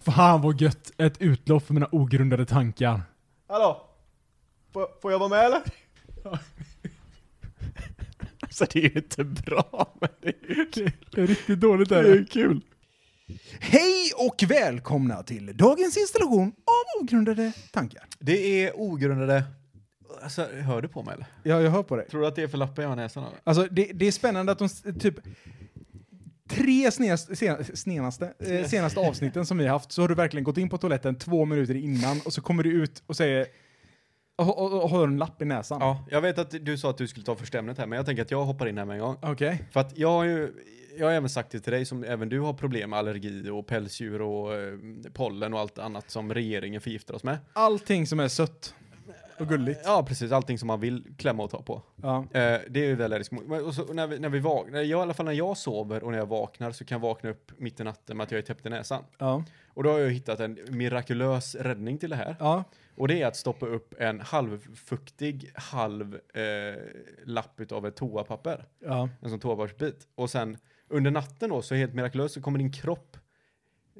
Fan vad gött! Ett utlopp för mina ogrundade tankar. Hallå? Får, får jag vara med eller? Alltså det är ju inte bra, men det är ju kul. Det är riktigt dåligt Det är ju kul. Hej och välkomna till dagens installation av ogrundade tankar. Det är ogrundade... Alltså, hör du på mig eller? Ja, jag hör på dig. Tror du att det är för lappen jag har i näsan eller? Alltså, det, det är spännande att de s- typ tre senaste, senaste, eh, senaste avsnitten som vi har haft så har du verkligen gått in på toaletten två minuter innan och så kommer du ut och säger och, och, och har en lapp i näsan. Ja, jag vet att du sa att du skulle ta förstämnet här, men jag tänker att jag hoppar in här med en gång. Okej. För att jag har ju... Jag har även sagt det till dig som även du har problem med allergi och pälsdjur och eh, pollen och allt annat som regeringen förgiftar oss med. Allting som är sött och gulligt. Ja, precis. Allting som man vill klämma och ta på. Ja. Eh, det är ju väldigt risk. Men- Och så, när vi, när vi vaknar, jag, i alla fall när jag sover och när jag vaknar så kan jag vakna upp mitt i natten med att jag är täppt i näsan. Ja. Och då har jag hittat en mirakulös räddning till det här. ja. Och det är att stoppa upp en halvfuktig halv eh, lapp utav ett toapapper. ja. En sån toapappersbit. Och sen under natten då, så helt mirakulöst, så kommer din kropp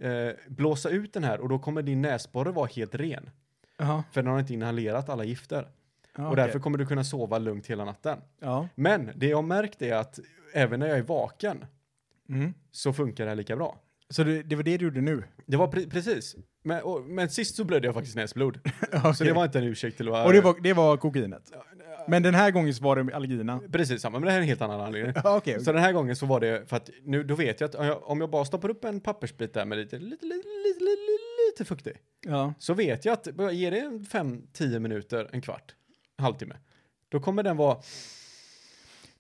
eh, blåsa ut den här och då kommer din näsborre vara helt ren. ja. För den har inte inhalerat alla gifter. ja. Och därför kommer du kunna sova lugnt hela natten. Ja. Men det jag har märkt är att även när jag är vaken Mm. så funkar det här lika bra. Så det, det var det du gjorde nu? Det var pre- precis. Men, och, men sist så blödde jag faktiskt näsblod. Så Okej. det var inte en ursäkt till att vara... Och det var, det var kokainet? Men den här gången så var det allergierna? Precis samma, men det här är en helt annan anledning. Ja, okej. Så den här gången så var det för att nu, då vet jag att om jag, om jag bara stoppar upp en pappersbit där med lite, lite, lite, lite, lite, lite fuktig. Ja. Så vet jag att, bara ge det 5-10 minuter, en kvart, en halvtimme. Då kommer den vara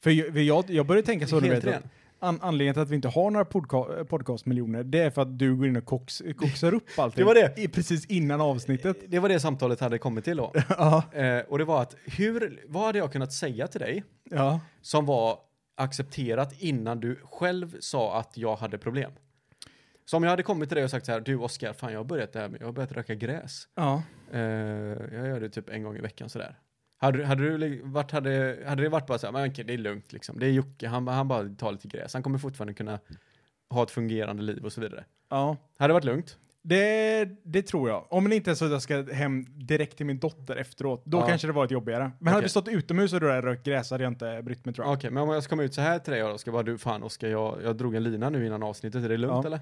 För jag, för jag, jag började tänka så, du helt vet, att ren. an, anledningen till att vi inte har några podca podcastmiljoner, det är för att du går in och koks, koksar upp allting. Det var det. I, precis innan avsnittet. Det var det samtalet hade kommit till då. Ja. eh, och det var att, hur, vad hade jag kunnat säga till dig Ja. som var accepterat innan du själv sa att jag hade problem. Så om jag hade kommit till dig och sagt så här, du Oskar, fan jag har börjat det här med, jag har börjat röka gräs. Ja. Eh, jag gör det typ en gång i veckan sådär. Hade, hade, du, li- varit, hade, hade det varit bara så här, men okej, det är lugnt liksom, det är Jocke, han, han bara tar lite gräs, han kommer fortfarande kunna ha ett fungerande liv och så vidare. ja. Hade det varit lugnt? Det, det tror jag. Om det inte är så att jag ska hem direkt till min dotter efteråt, då Ja. kanske det varit jobbigare. Men hade Okej. vi stått utomhus och rökt rökt gräs hade jag inte brytt mig tror jag. Okej, men om jag ska komma ut så här till dig och ska bara, du fan Oskar, jag, jag drog en lina nu innan avsnittet, är det lugnt Ja. eller?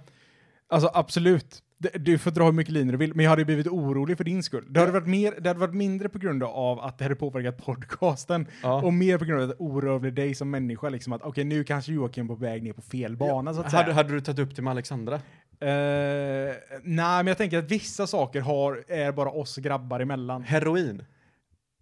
Alltså absolut. Det- Du får dra hur mycket linor du vill, men jag hade blivit orolig för din skull. Det hade varit, mer, det hade varit mindre på grund av att det hade påverkat podcasten Ja. och mer på grund av att det orörde dig som människa. Liksom att okej, nu kanske Joakim är på väg ner på fel bana så att säga. Hade, hade du tagit upp det med Alexandra? Eh, nej, men jag tänker att vissa saker har, är bara oss grabbar emellan. Heroin?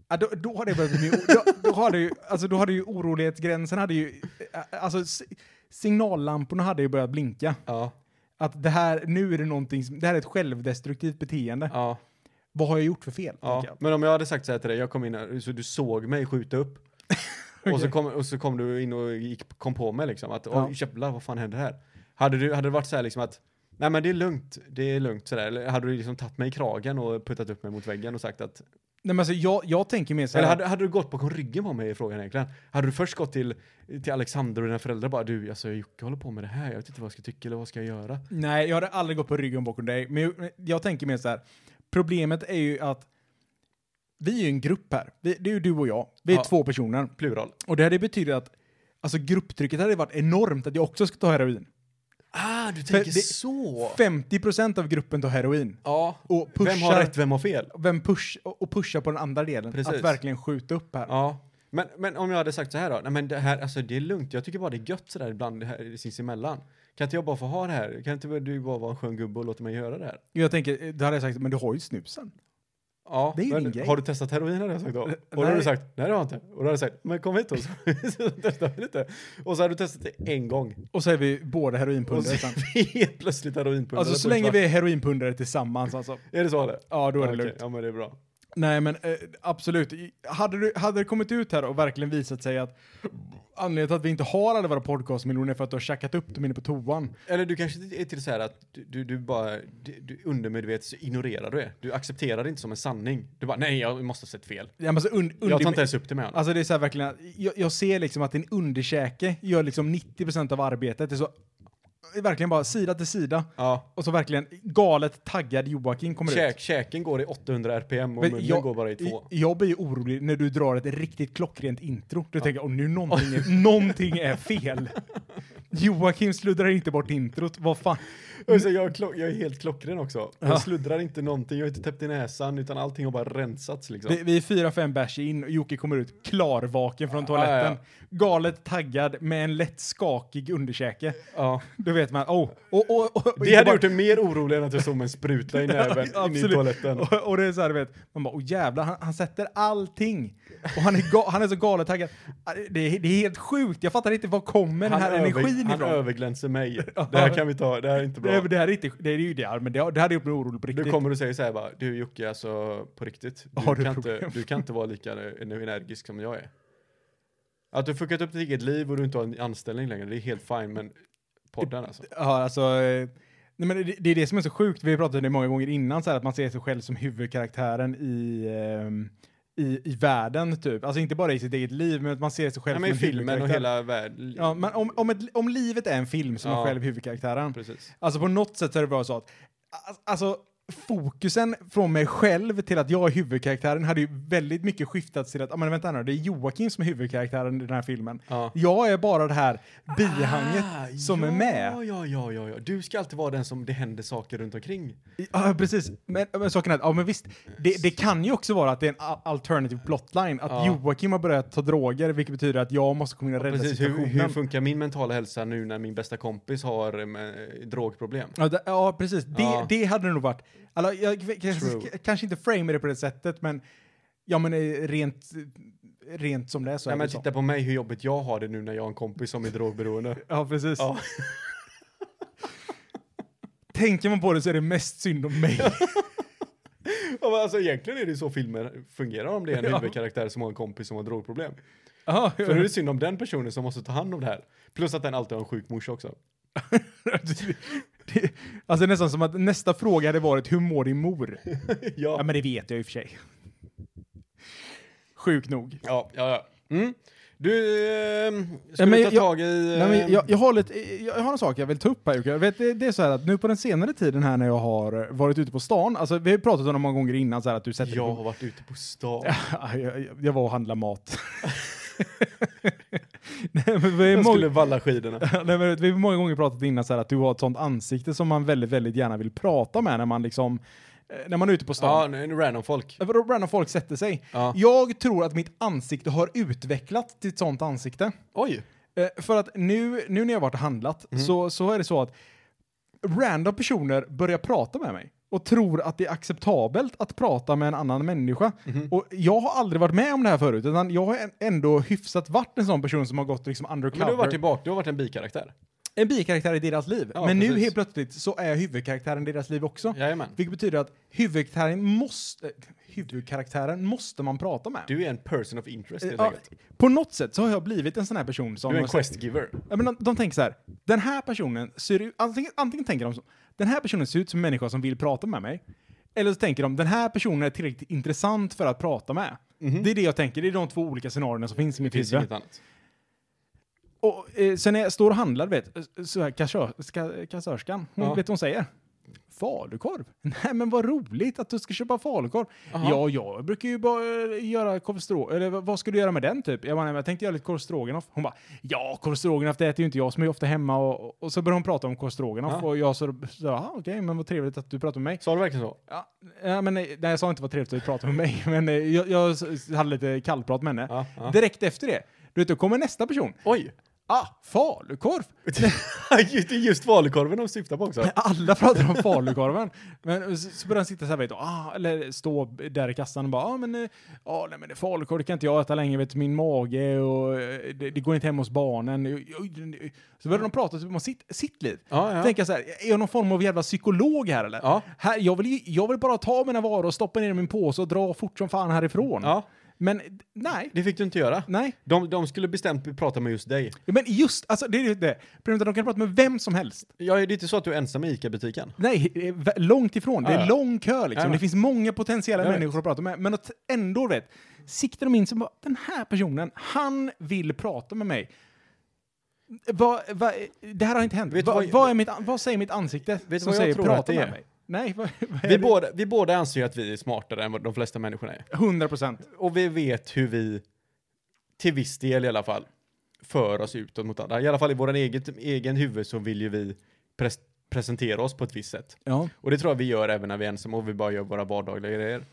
Ja, då, då har det börjat bli... Då, då har det ju, alltså då har det ju orolighetsgränsen hade ju... eh, Alltså si- signallamporna hade ju börjat blinka. Ja. Att det här, nu är det någonting som, det här är ett självdestruktivt beteende. Ja. Vad har jag gjort för fel? Ja, tänker jag. men om jag hade sagt så här till dig, jag kom in här, så du såg mig skjuta upp. och, så kom, och så kom du in och gick, kom på mig liksom att, Ja. oj jävlar vad fan hände här? Hade, du, hade det varit så här liksom att, nej men det är lugnt, det är lugnt sådär, eller hade du liksom tagit mig i kragen och puttat upp mig mot väggen och sagt att, Nej, men alltså, jag, jag tänker mer så här. eller hade, hade du gått bakom ryggen på mig i frågan egentligen? Hade du först gått till, till Alexander och dina föräldrar bara, du alltså Jocke håller på med det här, jag vet inte vad jag ska tycka eller vad ska jag göra? Nej, jag hade aldrig gått på ryggen bakom dig. Men jag, men jag tänker mer så här. Problemet är ju att vi är ju en grupp här. Vi, det är ju du och jag. Vi är Ja. två personer. Plural. Och det hade betytt att alltså, grupptrycket hade varit enormt att jag också ska ta heroin. Ah, du tänker så! 50% av gruppen tar heroin. ja, Och vem har pushar- rätt, vem har fel? Vem push, och pusha på den andra delen. Precis. Att verkligen skjuta upp här. Ja. Men, men om jag hade sagt så här då, nej men det här, alltså det är lugnt, jag tycker bara det är gött sådär ibland det här sinsemellan. Kan inte jag bara få ha det här? Kan inte du bara vara en skön gubbe och låta mig göra det här? Jag tänker, då hade jag sagt, men du har ju snusen. Ja, Det är ju men din grej. Har du testat heroin hade jag sagt då. Och då hade nej. du sagt, nej det har jag inte. Och då hade jag sagt, men kom hit då så, så testar vi lite. Och så hade du testat det en gång. Och så är vi båda Och så heroinpundare. sen. är vi helt plötsligt heroinpundare. Alltså så på en länge kvart. vi är heroinpundare tillsammans alltså. Är det så det? Ja, då är det okej. lugnt. Ja men det är bra. Nej, men eh, absolut. I- Hade, du, hade det kommit ut här och verkligen visat sig att anledningen till att vi inte har alla våra podcastmiljoner är för att du har tjackat upp dem inne på toan. Eller du kanske är till så här att du, du, du bara, du, du undermedvetet så ignorerar du det. Du accepterar det inte som en sanning. Du bara, nej jag måste ha sett fel. Ja, men alltså, und, under, Jag tar inte ens upp det med honom. Alltså det är så här verkligen, att jag, jag ser liksom att din underkäke gör liksom 90% av arbetet. Det är så verkligen bara sida till sida. Ja. Och så verkligen galet taggad Joakim kommer ut. Käk, käken går i 800 RPM och Men munnen jag- går bara i två. I- Jag blir ju orolig när du drar ett riktigt klockrent intro. Du tänker jag, åh nu någonting är, någonting är fel. Joakim sluddrar inte bort introt, vad fan. Alltså, jag, är klock, jag är helt klockren också. Jag sluddrar inte någonting, jag har inte täppt i näsan utan allting har bara rensats liksom. Vi, vi är fyra, fem bärs in och Jocke kommer ut klarvaken från Ja, ja, ja. toaletten. Galet taggad med en lätt skakig underkäke. Ja. Då vet man, oh, och, och, och, och Det hade gjort det mer orolig än att jag såg mig en spruta i näven in i Absolut. toaletten. Och, och det är så här, du vet, man bara, oh jävlar, han, han sätter allting. Och han är, ga- han är så galet taggad. Det är, det är helt sjukt, jag fattar inte, var kommer den här energin han ifrån? överglänser mig. Det här kan vi ta, det här är inte bra. Det, det, här är inte, det är ju det, men det, det här är ju orolig på riktigt. Du kommer och säger så här bara, du Jocke, alltså på riktigt, du, Har du kan, inte, problem?" du kan inte vara lika energisk som jag är. Att du fuckat upp ditt eget liv och du inte har en anställning längre, det är helt fine, men podden alltså. Ja, alltså... eh, Nej, men det, det är det som är så sjukt. Vi har pratat om det många gånger innan, så här, att man ser sig själv som huvudkaraktären i, ehm, i, i världen, typ. Alltså inte bara i sitt eget liv, men att man ser sig själv Ja, som men i en filmen och huvudkaraktär. hela världen. Ja, men om, om, ett, om livet är en film så är man Ja. själv huvudkaraktären. Precis. Alltså på något sätt så är det bara så att... a- Alltså, fokusen från mig själv till att jag är huvudkaraktären hade ju väldigt mycket skiftats till att, ah, men vänta här nu, det är Joakim som är huvudkaraktären i den här filmen. Ja. Jag är bara det här bihanget som Ah. ja, är med. Ja, ja, ja, ja. Du ska alltid vara den som det händer saker runt omkring. Ja, precis. Men, men saken är att, ja men visst, det, det kan ju också vara att det är en a- alternative plotline. Att Ja. Joakim har börjat ta droger, vilket betyder att jag måste komma in och rädda Precis, hur, situationen. hur funkar min mentala hälsa nu när min bästa kompis har eh, med- drogproblem? ja, det, ja, precis. Det, Ja. det hade det nog varit. Alltså, jag k- True. kanske, kanske inte frame det på det sättet, men ja men eh, rent, rent som det är så Nej är men det så. titta på mig hur jobbigt jag har det nu när jag har en kompis som är drogberoende. Ja, precis. Ja. Tänker man på det så är det mest synd om mig. Ja, men alltså egentligen är det ju så filmer fungerar om det är en Ja. huvudkaraktär som har en kompis som har drogproblem. Ja, För då är det synd om den personen som måste ta hand om det här. Plus att den alltid har en sjuk morsa också. det, det, alltså nästan som att nästa fråga hade varit, hur mår din mor? Ja, ja. men det vet jag i och för sig. Sjukt nog. ja, ja, ja. Mm. Du, ehm, ska Ja, men du ta jag- tag i... Nej, men ehm, jag, jag, har lite, jag, jag har en sak jag vill ta upp här Jocke. Jag vet, det, det är så här att nu på den senare tiden här när jag har varit ute på stan, alltså vi har ju pratat om det många gånger innan så här att du sätter jag dig har på... varit ute på stan. Ja, jag, jag- jag var och handlade mat. Nej, men vi, är Jag skulle många, valla skidorna. nej, men vi har många gånger pratat innan så här att du har ett sånt ansikte som man väldigt, väldigt gärna vill prata med när man liksom, eh, när man är ute på stan. Ja, nu är det random folk. Vadå random folk sätter sig? Ja. Jag tror att mitt ansikte har utvecklats till ett sånt ansikte. Oj! Eh, för att nu, nu när jag varit och handlat Mhm. så, så är det så att random personer börjar prata med mig och tror att det är acceptabelt att prata med en annan människa. Mhm. Och jag har aldrig varit med om det här förut, utan jag har en- ändå hyfsat varit en sån person som har gått liksom undercover. Men du har varit tillbaka, du har varit en bikaraktär. En bikaraktär i deras liv. Ja, Men nu precis. helt plötsligt så är jag huvudkaraktären i deras liv också. Jajamän. Vilket betyder att huvudkaraktären måste, eh, huvudkaraktären måste man prata med. Eh, Du är en person of interest helt ja, enkelt. på något sätt så har jag blivit en sån här person som... Du är en quest giver. Ja, men de, de tänker så här, den här personen ser ut, antingen, antingen tänker de så, den här personen ser ut som en människa som vill prata med mig. Eller så tänker de, den här personen är tillräckligt intressant för att prata med. Det är det jag tänker, det är de två olika scenarierna som finns i mitt Mhm. Det finns huvud. inget annat. Och eh, sen när jag står och handlar, du vet, eh, så här, kassör, ska, kassörskan, hon, Ja. vet vad hon säger? Falukorv? Nej men vad roligt att du ska köpa falukorv. Ja, jag brukar ju bara eh, göra korvstrå... Eller vad vad ska du göra med den typ? Jag bara, nej, men jag tänkte göra lite korv stroganoff. Hon bara, ja korv stroganoff det äter ju inte jag som är ofta hemma. Och, och så börjar hon prata om korv stroganoff Ja. och jag så, så ja okej men vad trevligt att du pratar med mig. Sa du verkligen så? Ja, ja, men eh, nej, nej, jag sa inte vad trevligt att du pratade med mig, men eh, jag, jag s- hade lite kallprat med henne. Ja, ja. Direkt efter det, du vet, då kommer nästa person. Oj! Ah, falukorv! Just- Det är just falukorven de syftar på också. Alla pratar om falukorven. Men så så börjar han sitta så här, vet du, ah, eller stå där i kassan och bara, ah, men, eh, ah, nej, men det är falukorv det kan inte jag äta längre, vet du, min mage och eh, det, det går inte hem hos barnen. Oj, oj, oj. Så börjar de prata typ om sitt, sitt liv. Ja, ja. Tänker jag så här, är jag någon form av jävla psykolog här eller? Ja. Här, jag, vill, ju- jag vill bara ta mina varor och stoppa ner dem i min påse och dra fort som fan härifrån. Ja, Men eh, nej, det fick du inte göra. nej. De, de skulle bestämt prata med just dig. Ja, Men just, alltså det är ju det. Problemet är att de kan prata med vem som helst. Ja, det är inte så att du är ensam i ICA-butiken. Nej, det är vä- långt ifrån. Det Ja, är ja. lång kö liksom. Ja, ja. Det finns många potentiella Jag vet. människor att prata med. Men att ändå, vet, siktar de in sig på den här personen, han vill prata med mig. Vad- vad- det här har inte hänt. Vet du Vad- vad jag- vad, är mitt, an- vad säger mitt ansikte du som vad jag säger tror prata att det med är? mig? Nej, vad, vad är Vi det? båda, vi båda anser ju att vi är smartare än vad de flesta människorna är. 100 procent. Och vi vet hur vi, till viss del i alla fall, för oss utåt mot andra. I alla fall i vår eget, egen huvud så vill ju vi pres- presentera oss på ett visst sätt. Ja. Och det tror jag vi gör även när vi är ensamma och vi bara gör våra vardagliga grejer.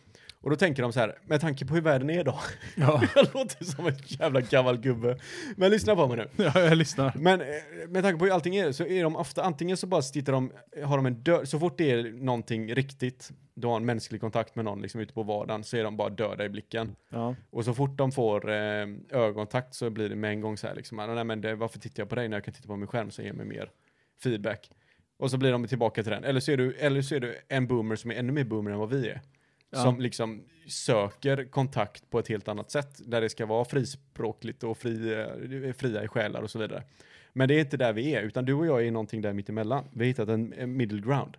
Och då tänker de så här, med tanke på hur världen är idag. Ja. Jag låter som en jävla gammal gubbe. Men lyssna på mig nu. ja, jag lyssnar. Men eh, med tanke på hur allting är så är de ofta, antingen så bara sitter de, har de en död, så fort det är någonting riktigt, du har en mänsklig kontakt med någon liksom ute på vardagen, så är de bara döda i blicken. Ja. Och så fort de får eh, ögonkontakt så blir det med en gång så här liksom, "Ah, nej men det, varför tittar jag på dig när jag kan titta på min skärm som ger mig mer feedback? Och så blir de tillbaka till den. Eller så är du, eller så är du en boomer som är ännu mer boomer än vad vi är. Ja. Som liksom söker kontakt på ett helt annat sätt. Där det ska vara frispråkligt och fri, eh, fria i själar och så vidare. Men det är inte där vi är, utan du och jag är någonting där mittemellan. Vi har hittat en, en middle ground.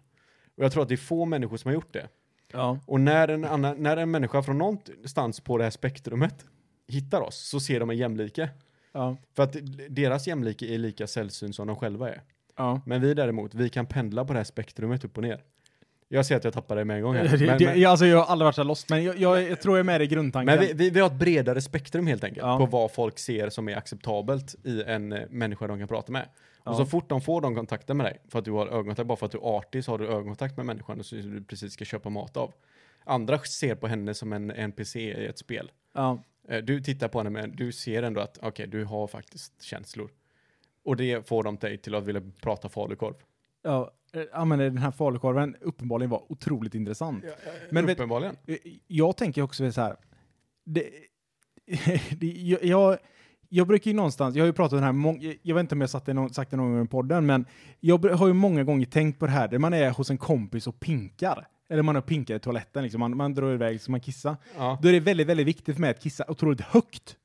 Och jag tror att det är få människor som har gjort det. Ja. Och när en, annan, när en människa från någonstans på det här spektrumet hittar oss så ser de en jämlike. Ja. För att deras jämlike är lika sällsynt som de själva är. Ja. Men vi däremot, vi kan pendla på det här spektrumet upp och ner. Jag ser att jag tappar det med en gång här. Det, Men, det, men, jag, alltså, jag har aldrig varit så här lost, men jag, jag, jag tror jag är med i grundtanken. men vi, vi, vi har ett bredare spektrum helt enkelt Ja. på vad folk ser som är acceptabelt i en eh, människa de kan prata med. Ja. Och så fort de får de kontakten med dig, för att du har ögonkontakt, bara för att du är artig så har du ögonkontakt med människan och så du precis ska köpa mat av. Andra ser på henne som en NPC i ett spel. ja. Eh, Du tittar på henne men du ser ändå att okej, du har faktiskt känslor. Och det får de dig till att vilja prata falukorv. Ja. eh, Ja, men den här falukorven uppenbarligen var otroligt intressant. Men vet- Uppenbarligen. Eh, Jag tänker också så här. Det, det, jag- jag, jag brukar ju någonstans, jag har ju pratat om det här, mång- jag vet inte om jag satt det någon, sagt det någon gång i podden, men jag br- har ju många gånger tänkt på det här, där man är hos en kompis och pinkar. Eller man har pinkat i toaletten, liksom. man, man drar iväg så man kissar. Ja. Då är det väldigt, väldigt viktigt för mig att kissa otroligt högt.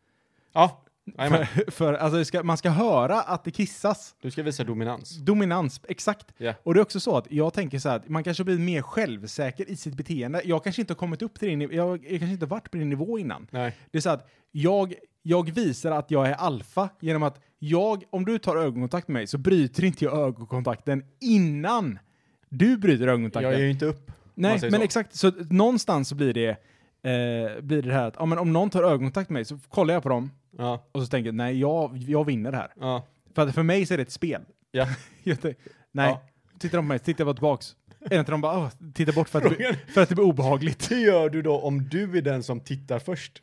ja. Jajamän. För, för alltså, det ska, man ska höra att det kissas. Du ska visa dominans. Dominans, exakt. Ja. Och det är också så att jag tänker så här att man kanske blir mer självsäker i sitt beteende. Jag kanske inte har kommit upp till din jag, jag kanske inte har varit på din nivå innan. Nej. Det är så att jag, jag visar att jag är alfa genom att jag, om du tar ögonkontakt med mig så bryter inte jag ögonkontakten innan du bryter ögonkontakten. Jag ger ju inte upp. om man Nej, säger men så. exakt. Så att någonstans så blir det, eh, blir det här att ja, men om någon tar ögonkontakt med mig så kollar jag på dem Ja. och så tänker jag nej, jag, jag vinner det här. Ja. För att för mig så är det ett spel. Ja. Jag tänk- Nej, Ja. tittar de på mig, tittar jag bara tillbaks. Eller inte de bara, "Åh, titta bort för att, det, Frågan- blir- för att det blir obehagligt. Hur gör du då om du är den som tittar först?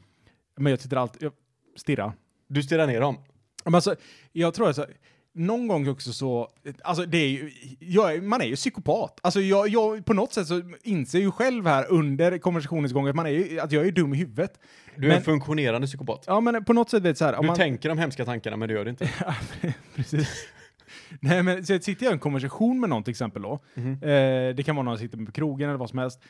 Men jag tittar alltid, jag stirrar. Du stirrar ner dem. Men alltså, jag tror alltså, någon gång också så, alltså det är ju, jag är, man är ju psykopat. Alltså jag, jag, på något sätt så inser jag ju själv här under konversationens gång att man är ju, att jag är dum i huvudet. Du är Men- en funktionerande psykopat. Ja men på något sätt vet så här, om Du man... tänker de hemska tankarna men du gör det inte. Ja, precis. Nej, men så sitter jag i en konversation med någon till exempel då. Mhm. Eh, det kan vara någon som sitter på krogen eller vad som helst.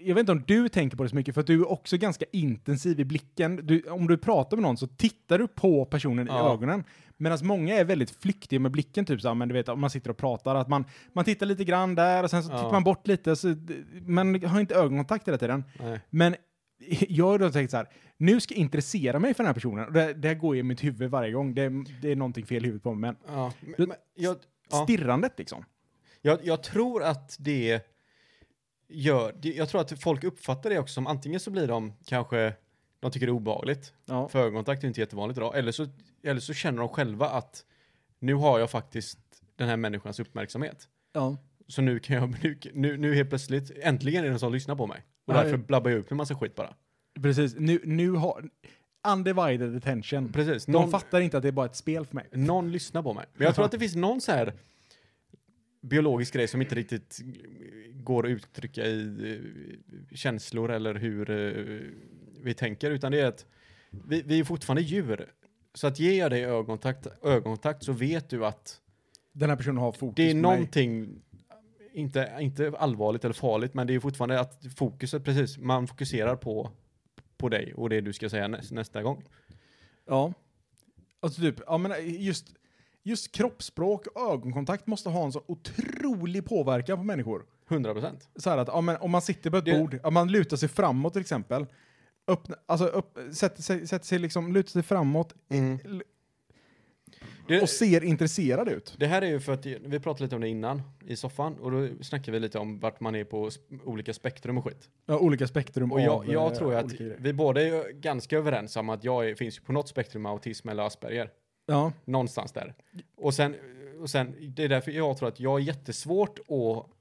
Jag vet inte om du tänker på det så mycket, för att du är också ganska intensiv i blicken. Du, om du pratar med någon så tittar du på personen i Ja. ögonen. Medan många är väldigt flyktiga med blicken, typ så här, men du vet om man sitter och pratar, att man, man tittar lite grann där och sen så Ja. tittar man bort lite, så, men har inte ögonkontakt hela tiden. Nej. Men jag har då tänkt så här, nu ska jag intressera mig för den här personen. Och det, det här går ju i mitt huvud varje gång. Det, är- det är någonting fel i huvudet på mig. Men Ja. Men, men, jag, ja. stirrandet liksom. Jag, jag tror att det gör, det- jag tror att folk uppfattar det också som antingen så blir de kanske, de tycker det är obehagligt, Ja. för ögonkontakt är ju inte jättevanligt idag, eller så, eller så känner de själva att nu har jag faktiskt den här människans uppmärksamhet. ja. Så nu kan jag, nu, nu, nu helt plötsligt, äntligen är det någon som lyssnar på mig. Och Ja, därför ja. blabbar jag ut en massa skit bara. Precis, nu, nu har... Undivided attention. Precis, De någon, fattar inte att det är bara ett spel för mig. någon lyssnar på mig. Men jag tror att det finns någon så här biologisk grej som inte riktigt går att uttrycka i eh, känslor eller hur eh, vi tänker, utan det är att vi, vi är fortfarande djur. Så att ger jag dig ögonkontakt, ögonkontakt så vet du att Den här personen har fokus det är på mig. någonting, inte, inte allvarligt eller farligt, men det är fortfarande att fokuset, precis, man fokuserar på, på dig och det du ska säga näs, nästa gång. Ja. Alltså typ, ja men just, just kroppsspråk och ögonkontakt måste ha en så otrolig påverkan på människor. 100 procent. så här att ja, men om man sitter på ett Det- bord, om man lutar sig framåt till exempel, Mm. öppna, alltså upp, sätter, sig, sätter sig liksom, lutar sig framåt, l- Det- och ser intresserad ut. Det här är ju för att vi pratade lite om det innan i soffan och då snackade vi lite om vart man är på sp- olika spektrum och skit. Ja, olika spektrum Och jag, av jag eh, tror ju att olika grejer. vi båda är ju ganska överens om att jag är, finns ju på något spektrum med autism eller Asperger. Ja, Någonstans där. Och sen, och sen, det är därför jag tror att jag är jättesvårt att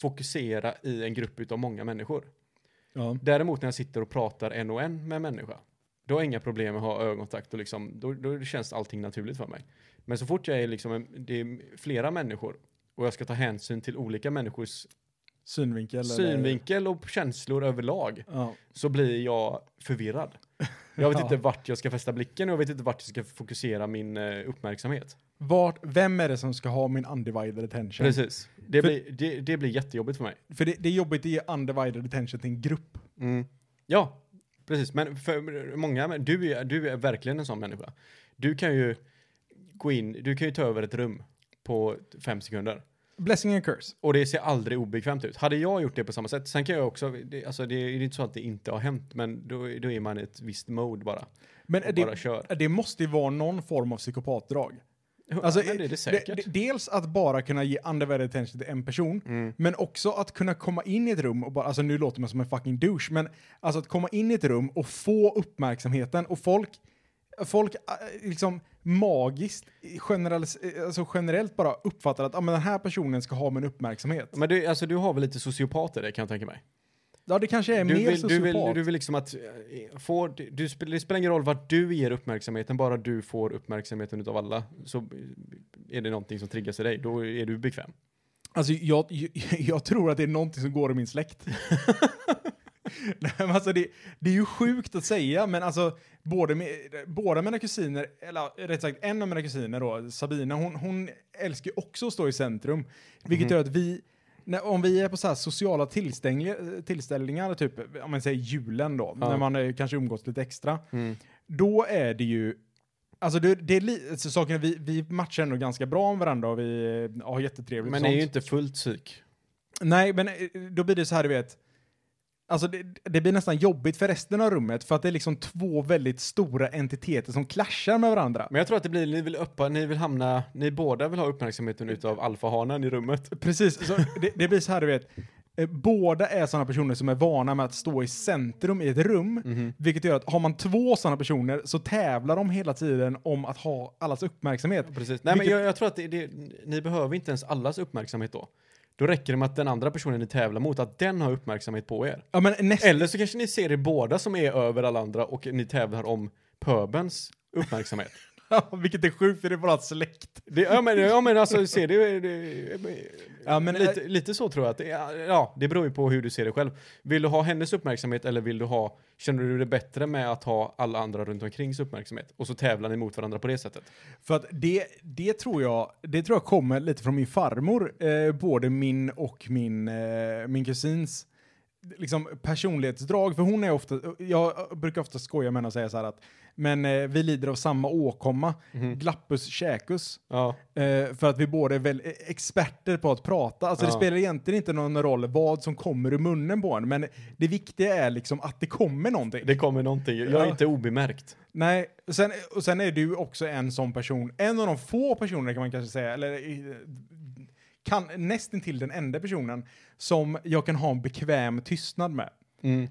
fokusera i en grupp utav många människor. ja. Däremot när jag sitter och pratar en och en med en människa, då har jag inga problem med att ha ögonkontakt och liksom, då, då känns allting naturligt för mig. Men så fort jag är liksom, en, det är flera människor och jag ska ta hänsyn till olika människors Synvinkel. eller- synvinkel och känslor överlag, Ja. så blir jag förvirrad. Jag vet Ja. inte vart jag ska fästa blicken och jag vet inte vart jag ska fokusera min eh, uppmärksamhet. Vart, vem är det som ska ha min undivided attention? Precis. Det För- blir, det, det blir jättejobbigt för mig. För det, det är jobbigt att ge undivided attention till en grupp. Ja, precis. Men för många, men du är, du är verkligen en sån människa. Du kan ju gå in, du kan ju ta över ett rum på fem sekunder. Blessing and curse. Och det ser aldrig obekvämt ut. Hade jag gjort det på samma sätt, sen kan jag också, det, alltså det är ju inte så att det inte har hänt, men då, då är man i ett visst mode bara. Men är Och bara det, kör. det måste ju vara någon form av psykopatdrag. Alltså, ja, men det d- är det säkert. d- dels att bara kunna ge undivided attention till en person, Mm. men också att kunna komma in i ett rum och bara, alltså nu låter man som en fucking douche, men alltså att komma in i ett rum och få uppmärksamheten och folk, folk äh, liksom magiskt generalis, eh, alltså generellt bara uppfattar att ah, men den här personen ska ha min uppmärksamhet. men du, alltså, du har väl lite sociopater det kan jag tänka mig? Ja, det kanske är Du mer vill, du, vill, sociopat. du vill liksom att, eh, få, du, du, sp- det spelar ingen roll vart du ger uppmärksamheten, bara du får uppmärksamheten utav alla så eh, är det någonting som triggas i dig, då är du bekväm. Alltså jag, jag, jag tror att det är någonting som går i min släkt. Nej, men alltså det, det är ju sjukt att säga, men alltså både med, båda mina kusiner, eller rätt sagt en av mina kusiner då, Sabina, hon, hon älskar ju också att stå i centrum. Mhm. Vilket gör att vi, när, om vi är på så här sociala tillställningar, tillställningar typ om man säger julen då, Ja. när man eh, kanske umgås lite extra, då är det ju Alltså det, det är li- alltså saken, vi, vi matchar ändå ganska bra med varandra och vi eh, har jättetrevligt. och Men det sånt. är ju inte fullt psyk. Nej, men eh, då blir det så här, du vet. Alltså det, det blir nästan jobbigt för resten av rummet för att det är liksom två väldigt stora entiteter som clashar med varandra. Men jag tror att det blir, ni vill uppa, ni vill hamna, ni båda vill ha uppmärksamheten utav alfahanen i rummet. Precis, så det, det blir så här, du vet. eh, Båda är sådana personer som är vana med att stå i centrum i ett rum, vilket gör att har man två sådana personer så tävlar de hela tiden om att ha allas uppmärksamhet. Precis. Nej Vilket- men jag, jag tror att det, det, ni behöver inte ens allas uppmärksamhet då. Då räcker det med att den andra personen ni tävlar mot, att den har uppmärksamhet på er. Ja, men näst, Eller så kanske ni ser er båda som är över alla andra och ni tävlar om pöbens uppmärksamhet. vilket är sjukt för det är bara släkt. Det, ja, men, ja men alltså, ser du... Det, Ja, men, lite, lite så tror jag att det är. Ja, det beror ju på hur du ser det själv. Vill du ha hennes uppmärksamhet eller vill du ha... Känner du det bättre med att ha alla andra runt omkring uppmärksamhet? Och så tävlar ni mot varandra på det sättet. För att det, det, tror jag, det tror jag kommer lite från min farmor, eh, både min och min, eh, min kusins liksom, personlighetsdrag. För hon är ofta, jag brukar ofta skoja med henne och säga så här att men eh, vi lider av samma åkomma, glappus käkus. Ja. Eh, för att vi båda är väl eh, experter på att prata. Alltså det Ja. spelar egentligen inte någon roll vad som kommer ur munnen på en, men det viktiga är liksom att det kommer någonting. Det kommer någonting. Jag är Ja. inte obemärkt. Nej, och sen, och sen är du också en sån person, en av de få personer kan man kanske säga, eller eh, kan, nästintill den enda personen som jag kan ha en bekväm tystnad med.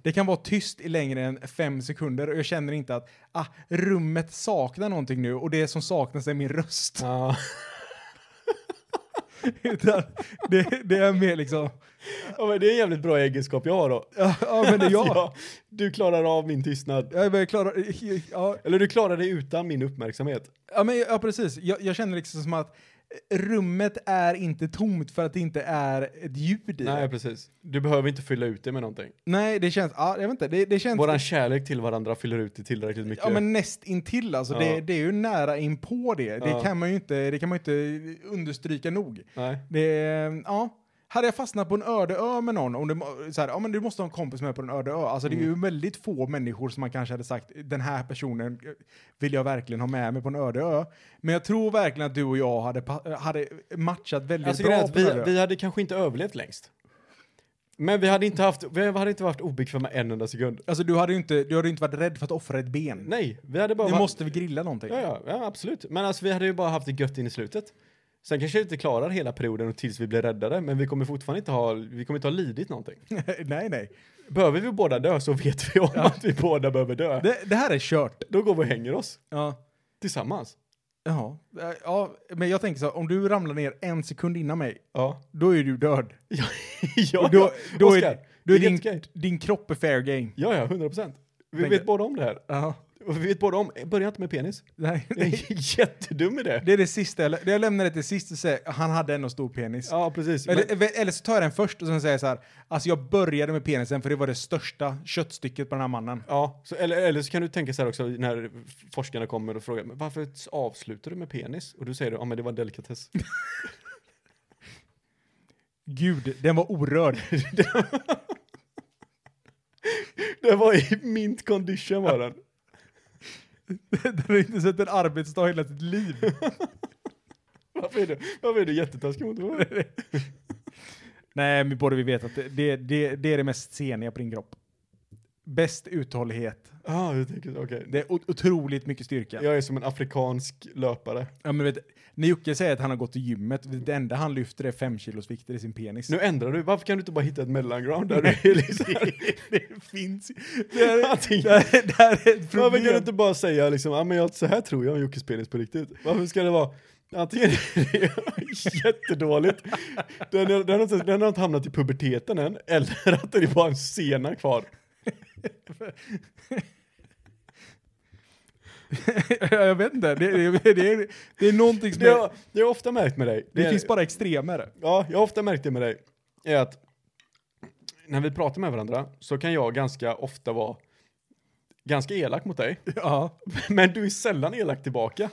Det kan vara tyst i längre än fem sekunder och jag känner inte att ah, rummet saknar någonting nu och det som saknas är min röst. Ja. Utan det, det är mer liksom, ja, men det är en jävligt bra egenskap jag har då. ja, ja men det är jag. Ja, du klarar av min tystnad. Jag är klar, ja, Eller du klarar dig utan min uppmärksamhet. Ja, men, ja precis. Jag, jag känner liksom som att rummet är inte tomt för att det inte är ett ljud i Nej, det. precis. Du behöver inte fylla ut det med någonting. Nej, det känns... Ja, jag vet inte. Det, det känns... Våran kärlek till varandra fyller ut det tillräckligt mycket. Ja, men nästintill alltså. Ja. Det, det är ju nära in på det. Det, Ja. kan man ju inte, det kan man ju inte understryka nog. Nej. Det, ja. Hade jag fastnat på en öde ö med någon, och det, må- så här, ja, men du måste ha en kompis med på en öde ö. Alltså, Mm. Det är ju väldigt få människor som man kanske hade sagt, den här personen vill jag verkligen ha med mig på en öde ö. Men jag tror verkligen att du och jag hade, pa- hade matchat väldigt Alltså, grejen bra på är en att öde vi, ö. vi hade kanske inte överlevt längst. Men vi hade inte haft, vi hade inte varit obekväma en enda sekund. Alltså du hade ju inte, du hade ju inte varit rädd för att offra ett ben. Nej, vi hade bara Nu varit- måste vi grilla någonting. Ja, ja, ja, absolut. Men alltså vi hade ju bara haft det gött in i slutet. Sen kanske vi inte klarar hela perioden och tills vi blir räddade, men vi kommer fortfarande inte ha, vi kommer inte ha lidit någonting. nej, nej. Behöver vi båda dö så vet vi om att vi båda behöver dö. Det, det här är kört. Då går vi och hänger oss Ja. tillsammans. Jaha. Eh, Ja, men jag tänker så här, om du ramlar ner en sekund innan mig, Ja. då är du död. Ja, ja. Och då, då Oscar, är, då är det är din, helt okej. din kropp är fair game. Ja, ja, 100 procent. Vi Tänker- vet båda om det här. Ja. Och Vi vet båda om, börja inte med penis. Nej, Jag nej. är jättedum i det. Det är det sista jag, lä- jag lämnar det till sist och säger han hade ändå stor penis. Ja, precis. Men, Eller, eller så tar jag den först och sen säger jag så här, alltså jag började med penisen för det var det största köttstycket på den här mannen. ja, så, eller, eller så kan du tänka så här också när forskarna kommer och frågar, men varför avslutar du med penis? Och du säger, ja men det var en delikatess. Gud, den var orörd. Det var i mint condition var den. den har inte sett en arbetsdag i hela sitt liv. Varför är du, varför är du jättetaskig mot mig? Nej, men både vi vet att det, det, det, det är det mest seniga på din kropp. Bäst uthållighet. Ja, jag tänker så, okej. Det är o- otroligt mycket styrka. Jag är som en afrikansk löpare. Ja, men vet, när Jocke säger att han har gått till gymmet, det enda han lyfter är fem kilos vikter i sin penis. Nu ändrar du, varför kan du inte bara hitta ett mellanground där du är liksom... det finns det här, Antingen- det här, det här är ett Varför kan du problem. inte bara säga liksom, ja men jag, så här tror jag om Jockes penis på riktigt. Varför ska det vara, antingen är det jättedåligt, den, är, den, har, inte- den har inte hamnat i puberteten än, eller att det är bara en sena kvar. jag vet inte, det, det, det, är, det är någonting som Det är, har det har jag ofta märkt med dig. det, är- finns bara extremer. Ja, jag har ofta märkt det med dig. Är att när vi pratar med varandra så kan jag ganska ofta vara ganska elak mot dig. Ja. Men du är sällan elak tillbaka.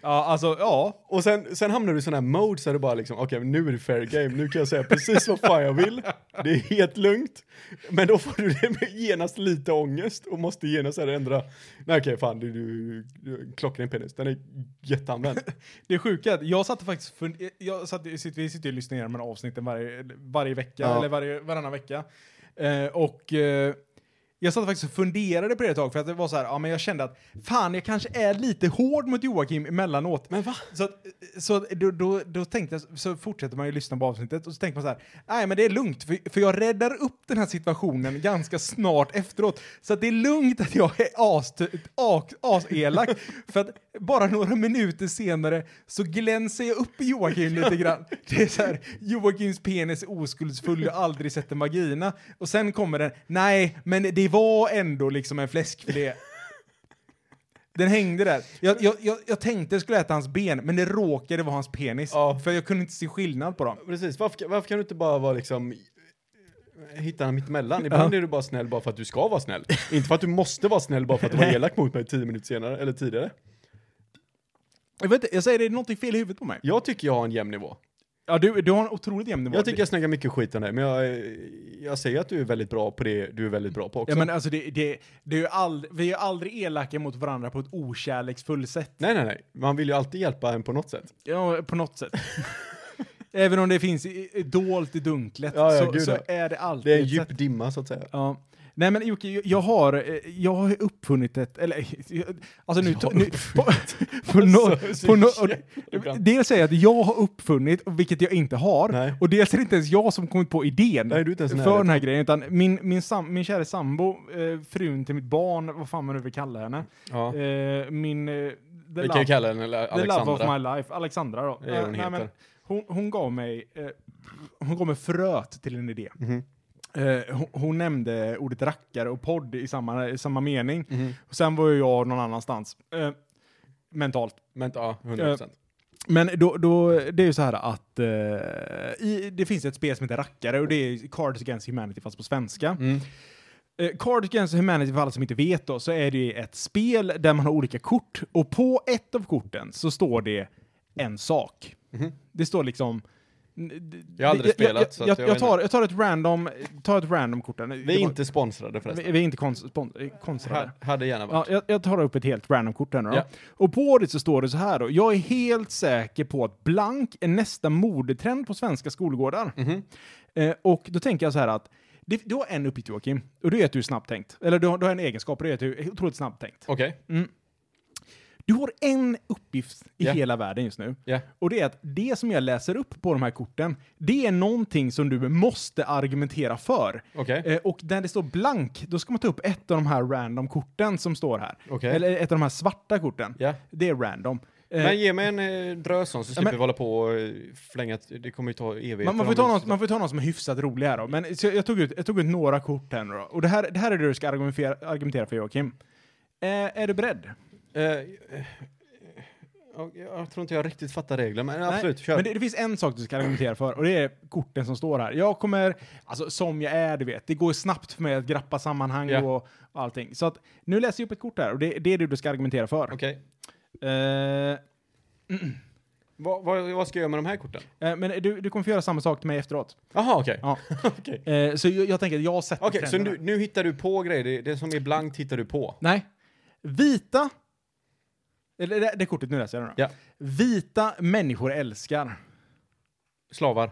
ja, alltså ja. Och sen, sen hamnar du i sån här mode så är du bara liksom, okej men nu är det fair game, nu kan jag säga precis vad fan jag vill. Det är helt lugnt. Men då får du det med genast lite ångest och måste genast här ändra. Nej okej fan, du, du, du klockren penis, den är jätteanvänd. Det är sjuka, är att jag satt faktiskt, fund- jag satt, vi sitter ju och lyssnar igenom de här avsnitten varje, varje vecka, Ja. eller varje, varannan vecka. Eh, och eh, jag satt faktiskt och funderade på det ett tag, för att det var så här, ja men jag kände att fan jag kanske är lite hård mot Joakim emellanåt. Men va? Så, att, så att då, då, då tänkte jag, så fortsätter man ju lyssna på avsnittet och så tänker man så här, nej men det är lugnt för, för jag räddar upp den här situationen ganska snart efteråt. Så att det är lugnt att jag är ast- ak- aselak för att bara några minuter senare så glänser jag upp i Joakim lite grann. Det är så här, Joakims penis är oskuldsfull, jag har aldrig sett en vagina. Och sen kommer den, nej men det var ändå liksom en fläskfilé. Den hängde där. Jag, jag, jag, jag tänkte jag skulle äta hans ben, men det råkade vara hans penis. Ja. För jag kunde inte se skillnad på dem. Precis, varför, varför kan du inte bara vara liksom eh, hitta den mittemellan? Ibland är du bara snäll bara för att du ska vara snäll. inte för att du måste vara snäll bara för att du var elak mot mig tio minuter senare, eller tidigare. Jag, vet inte, jag säger det, är någonting fel i huvudet på mig. Jag tycker jag har en jämn nivå. Ja, du, du har en otroligt jämn nivå. Jag tycker jag snackar mycket skit om dig, men jag, eh, jag säger att du är väldigt bra på det du är väldigt bra på också. Ja, men alltså det, det, det är ju ald- vi är ju aldrig elaka mot varandra på ett okärleksfullt sätt. Nej, nej, nej. Man vill ju alltid hjälpa en på något sätt. Ja, på något sätt. Även om det finns i, i, dolt i dunklet Ja, ja, så, gud, så ja. är det alltid Det är en ett sätt. djup dimma, så att säga. Ja. Nej men Jocke, jag- jag har, eh, jag har uppfunnit ett, eller, eh, alltså nu, nu på, på, no, Alltså, på no, så jävla bra. dels säger jag att jag har uppfunnit, och vilket jag inte har, Nej. och dels är det inte ens jag som kommit på idén Nej, du är inte ens i för närheten. den här grejen, utan min, min, sam, min kära sambo, eh, frun till mitt barn, vad fan man nu vill kalla henne, Ja. eh, min, eh, the Vi kan ju kalla den eller The love of Alexandra. my life, Alexandra då. Det är hon heter. hon, hon gav mig, eh, hon gav mig fröet till en idé. Mhm. Eh, hon, hon nämnde ordet rackare och podd i samma, i samma mening. Mhm. Och sen var ju jag någon annanstans. Eh, mentalt. Men ja, 100%. Men då, då, det är ju så här att eh, i, det finns ett spel som heter Rackare och det är Cards Against Humanity fast på svenska. Mm. Eh, Cards Against Humanity, för alla som inte vet då, så är det ju ett spel där man har olika kort och på ett av korten så står det en sak. Det står liksom Mhm. Jag har aldrig spelat, så Jag, att jag, jag jag, vet tar, jag tar ett random, tar ett random kort där. Vi är inte sponsrade förresten. vi, vi är inte konst, spon, konstrade. Ha, hade gärna Ja, varit. jag, jag tar upp ett helt random kort här nu då. Ja. Och på det så står det så här då. Jag är helt säker på att blank är nästa modetrend på svenska skolgårdar. Mhm. Eh, och då tänker jag så här att det, du har en uppgift Joakim, och det är att du är snabbt tänkt. Eller du har, du har en egenskap, och det är att du är otroligt snabbt tänkt. Okej. Du har en uppgift i Ja. hela världen just nu. Ja. Och det är att det som jag läser upp på de här korten, det är någonting som du måste argumentera för. Okej. Eh, och när det står blank, då ska man ta upp ett av de här random korten som står här. Okej. Eller ett av de här svarta korten. Ja. Det är random. Eh, Men ge mig en eh, drös sån så slipper men- vi hålla på och eh, flänga. ett- Det kommer ju ta evigheter. man, man, om får ta vi- något, man får ta något som är hyfsat rolig här då. Men så jag, tog ut, jag tog ut några kort här nu då. Och det här, det här är det du ska argumentera, argumentera för Joakim. Eh, är du beredd? Eh, eh, jag- jag tror inte jag riktigt fattar reglerna, men absolut, Nej, kör. Men det, det finns en sak du ska argumentera för och det är korten som står här. Jag kommer, alltså som jag är, du vet, det går snabbt för mig att grappa sammanhang Ja. och, och allting. Så att nu läser jag upp ett kort här och det, det är det du ska argumentera för. Okej. Eh, Vad, vad, vad ska jag göra med de här korten? eh, men du, du kommer få göra samma sak till mig efteråt. Jaha, okej. Ja. Okej. Eh, så jag, jag tänker att jag sätter Okej, så trenderna. nu, nu hittar du på grejer. Det, det som är blankt hittar du på. Nej. Vita... Eller det, det är kortet, nu läser jag det då. Ja. Vita människor älskar. Slavar.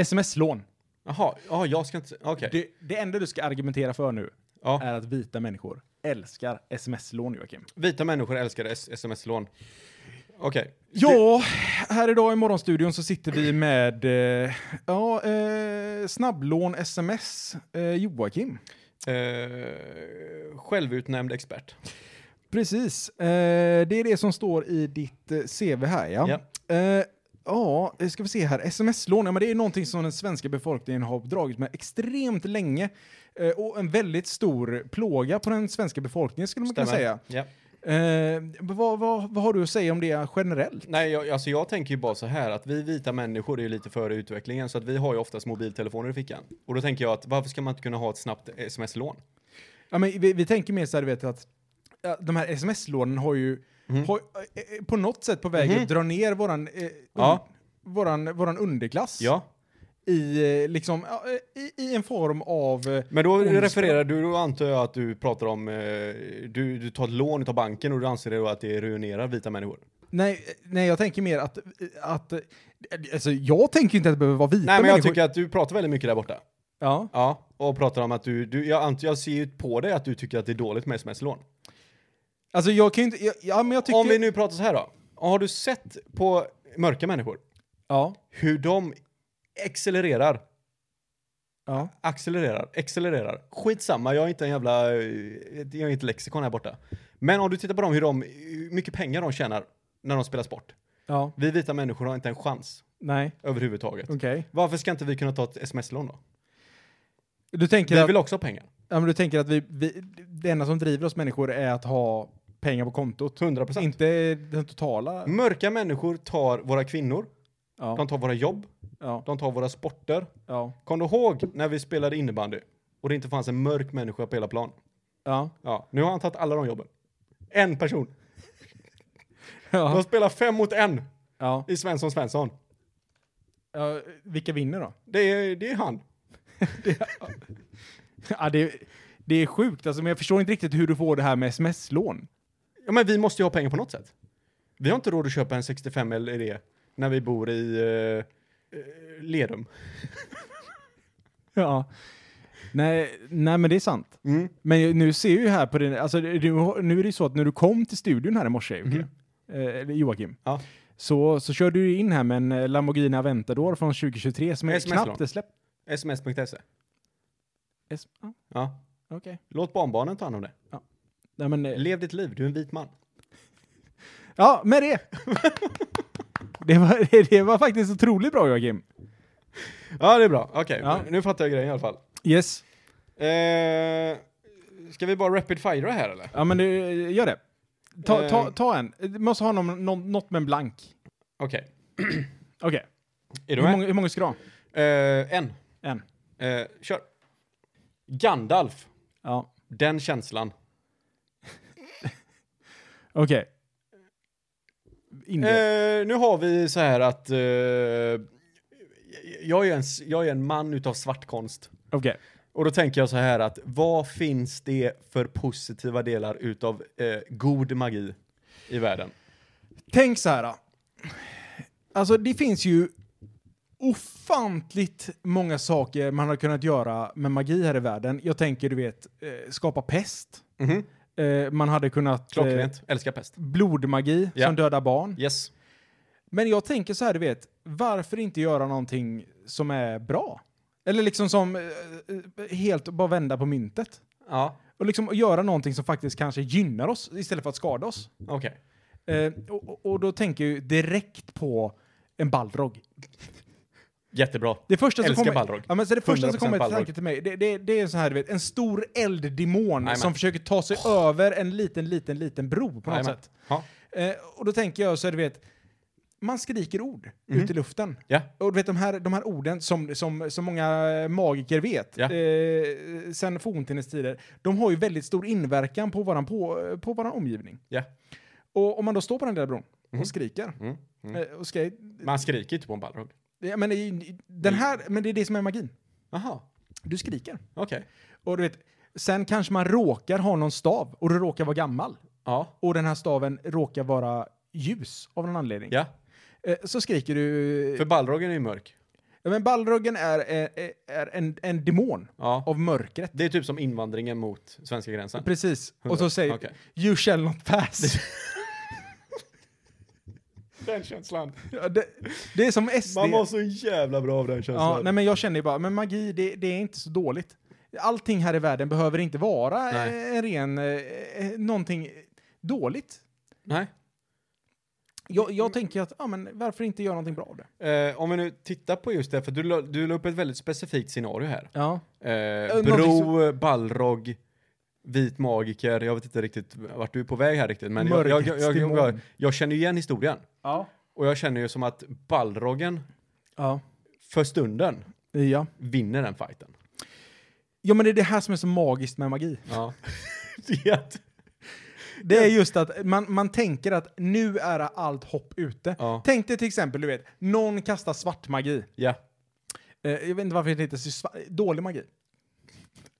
Sms-lån. Jaha, ja, jag ska inte... Okej. Det, det enda du ska argumentera för nu Ja. är att vita människor älskar sms-lån, Joakim. Vita människor älskar s- sms-lån. Okej. Ja, här idag i Morgonstudion så sitter vi med eh, ja, eh, snabblån sms eh, Joakim. Eh, självutnämnd expert. Precis, eh, det är det som står i ditt eh, CV här ja. Ja. Eh, Ja, eh, ska vi se här. Sms-lån, ja, men det är ju någonting som den svenska befolkningen har dragit med extremt länge. Eh, och en väldigt stor plåga på den svenska befolkningen skulle man kunna säga. Ja. Eh, vad, vad, vad har du att säga om det generellt? Nej, jag, alltså jag tänker ju bara så här att vi vita människor är ju lite före utvecklingen så att vi har ju oftast mobiltelefoner i fickan. Och då tänker jag att varför ska man inte kunna ha ett snabbt sms-lån? Ja, men vi, vi tänker mer så här, du vet att ja, de här sms-lånen har ju Mm. har, eh, eh, på något sätt på väg att dra ner våran, eh, un, Mm-hmm. Ja. våran, våran underklass Ja, i, eh, liksom, ja, eh, i, i en form av... eh, men då Onsdag. refererar du, då antar jag att du pratar om, eh, du, du tar ett lån utav banken och du anser då att det ruinerar vita människor. Nej, eh, nej, jag tänker mer att... eh, att eh, alltså, jag tänker ju inte att det behöver vara vita Nej, men jag människor. tycker att du pratar väldigt mycket där borta. Ja. Ja, och pratar om att du, du jag, antar, jag ser ju på dig att du tycker att det är dåligt med sms-lån. Alltså, jag kan ju inte... Jag, ja, men jag tycker... Om vi nu pratar så här då. Har du sett på mörka människor Ja. hur de accelererar ja. accelererar, accelererar. Skitsamma, jag är inte en jävla, eh, jag är inte lexikon här borta. Men om du tittar på dem, hur de, hur mycket pengar de tjänar när de spelar sport. Ja. Vi vita människor har inte en chans Nej. överhuvudtaget. Okej. Varför ska inte vi kunna ta ett sms-lån då? Du tänker Vi att... vill också ha pengar. Ja, men du tänker att vi, vi, det enda som driver oss människor är att ha pengar på kontot? 100 procent. Inte den totala? Mörka människor tar våra kvinnor, Ja, de tar våra jobb, ja, de tar våra sporter. ja, Kom du ihåg när vi spelade innebandy och det inte fanns en mörk människa på hela plan? ja. Ja, nu har han tagit alla de jobben. En person. De ja, spelar fem mot en ja, i Svensson Svensson. ja. Vilka vinner då? Det är, det är han. Ja, det, det är sjukt, alltså, men jag förstår inte riktigt hur du får det här med sms-lån. Ja, men vi måste ju ha pengar på något sätt. Vi har inte råd att köpa en 65 LED när vi bor i eh, eh, Lerum. Ja. Nej, nej, men det är sant. Mm, Men nu ser jag ju här på din, alltså du, har- nu är det ju så att när du kom till studion här i morse, Mhm. Jocke, eh, eller Joakim, Ja. så, så körde du ju in här med en eh, Lamborghini Aventador från 2023 som är SMS-lån. knappt är släppt. Sms.se. S- ja, E. Ja. Okej. Låt barnbarnen ta hand om det. Nej, men, eh, Lev ditt liv, du är en vit man. Ja, med det. det, var, det var faktiskt otroligt bra Joakim. Ja, det är bra. Okej, Ja. nu fattar jag grejen i alla fall. Yes. Eh, ska vi bara rapid fire här eller? Ja, men du, gör det. Ta, ta, Eh. ta en. Du måste ha någon, någon, något med en blank. Okej. Okej. Är Hur, du med? många, hur många ska du ha? Eh, en. En. Eh, kör. Gandalf. Ja. Den känslan. Okej. inre? Eh, nu har vi så här att eh, jag, är en, s- jag är en man utav svartkonst. Okej. Och då tänker jag så här att vad finns det för positiva delar utav eh, god magi i världen? Tänk så här. Alltså det finns ju ofantligt många saker man har kunnat göra med magi här i världen. Jag tänker, du vet, eh, skapa pest. Mhm. Eh, man hade kunnat... eh, Klockrent. Älskar pest. blodmagi Ja. som dödar barn. Yes. Men jag tänker så här, du vet, varför inte göra någonting som är bra? Eller liksom som eh, eh, helt bara vända på myntet. Ja, Och liksom göra någonting som faktiskt kanske gynnar oss istället för att skada oss. okej. Eh, och, och- och då tänker jag ju direkt på en Balrog. Jättebra. Det första som Älskar kommer, Balrog. Ja, men så det första som 100% kommer till Balrog. tanken till mig, det, det, det är så här, du vet, en stor elddemon Jajamän. Oh. som försöker ta sig över en liten, liten, liten bro på något Jajamän. sätt. Ja. Eh, och då tänker jag så här, du vet, man skriker ord Mhm. ut i luften. Ja. Och du vet de här, de här orden som, som, som många magiker vet, Ja. eh, sen forntindes tider, de har ju väldigt stor inverkan på våran, på, på våran omgivning. Ja. Och om man då står på den där bron och skriker, Mm. Mm. eh, och skri- Man skriker inte på en ballrog. ja, men, i- i- den här, men det är det som är magin. Jaha, Du skriker. okej. Och du vet, sen kanske man råkar ha någon stav och du råkar vara gammal. Ja. Och den här staven råkar vara ljus av någon anledning. Ja, Eh, så skriker du... för ballrogen är ju mörk. Ja, men Balrogen är, är, är en, en demon Ja. av mörkret. Det är typ som invandringen mot svenska gränsen. Precis. Och så säger Okej. You shall not pass. Den känslan. Ja, det, det är som SD. Man mår så jävla bra av den känslan. ja, nej, men jag känner ju bara, men magi, det, det är inte så dåligt. Allting här i världen behöver inte vara Nej. eh, en ren, eh, eh, någonting dåligt. Nej. Jag, jag tänker att, ja men varför inte göra någonting bra av det? Eh, om vi nu tittar på just det, för du, la- du la upp ett väldigt specifikt scenario här. Ja. Eh, någonting bro, Balrog, vit magiker, jag vet inte riktigt vart du är på väg här riktigt, men jag, jag, jag, jag, jag, jag, Mörkrets jag känner ju igen historien. Ja. Och jag känner ju som att Balrogen, Ja. för stunden, Ja. vinner den fighten. Ja men det är det här som är så magiskt med magi. Ja. Det är att- Det är just att man, man tänker att nu är allt hopp ute. Ja. Tänk dig till exempel, du vet, någon kastar svart magi. ja. Eh, jag vet inte varför det heter så sva- dålig magi.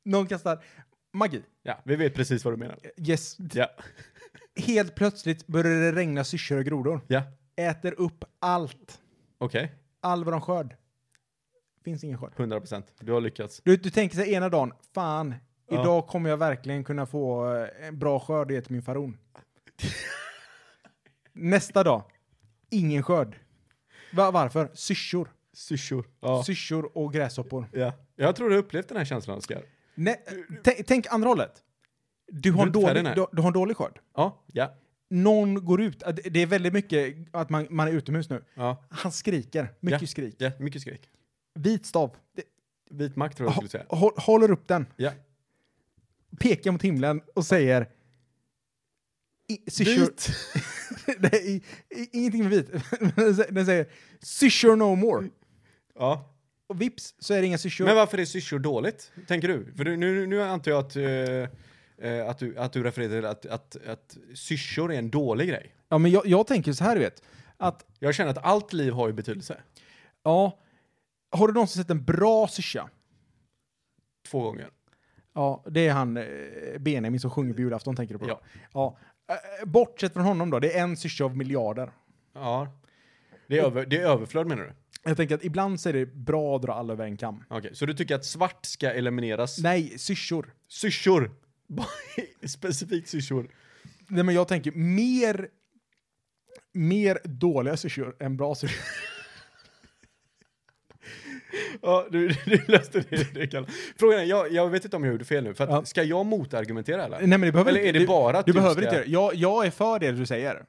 Någon kastar magi. ja, vi vet precis vad du menar. Eh, Yes. Ja, Helt plötsligt börjar det regna syrsor och grodor. ja, Äter upp allt. okej. All våran skörd. Finns ingen skörd. 100 procent. Du har lyckats. Du, du tänker sig ena dagen, fan, Ja. idag kommer jag verkligen kunna få eh, en bra skörd och ge till min faron. Nästa dag, ingen skörd. Va, varför? Syrsor. Syrsor. Ja. Syrsor och gräshoppor. ja. Jag tror du har upplevt den här känslan, Oskar. Nej, tänk, tänk andra hållet. Du har, är en inte färdig, dålig, nej. du, du har en dålig skörd. Ja, ja, Någon går ut. Att- Det är väldigt mycket att man, man är utomhus nu. ja. Han skriker. Mycket skrik. ja. Mycket skrik. Vit stav. Det- Vit makt tror jag hå- skulle säga. hå- Håller upp den. Ja. pekar mot himlen och säger... i- Syrsor... Nej, i- i- ingenting med vit. Den sä- Den säger syrsor no more. ja. Och vips så är det inga syrsor. Men varför är syrsor dåligt, tänker du? För du, nu, nu antar jag att, eh, eh, att, du, att du refererar till att, att, att syrsor är en dålig grej. Ja, men jag, jag tänker så här, du vet. Att, Jag känner att allt liv har ju betydelse. ja... Har du någonsin sett en bra syrsa? Två gånger. Ja, det är han eh, Benjamin som sjunger på julafton, tänker du på? Ja. ja. Eh, Bortsett från honom då, det är en syrsa av miljarder. Ja. Det är, över, det är överflöd menar du? Jag tänker att ibland så är det bra att dra alla över en kam. Okej, så du tycker att svart ska elimineras? Nej, syrsor. Syrsor! Specifikt syrsor. Nej, men jag tänker mer, mer dåliga syrsor än bra syrsor. Ja, du, du löste det. det Kalle. Frågan är, jag, jag vet inte om jag gjorde fel nu, för att, Ja. ska jag motargumentera eller? Nej, men det behöver Eller inte- är det du, bara att du du behöver ska- inte göra det. Jag, jag är för det du säger.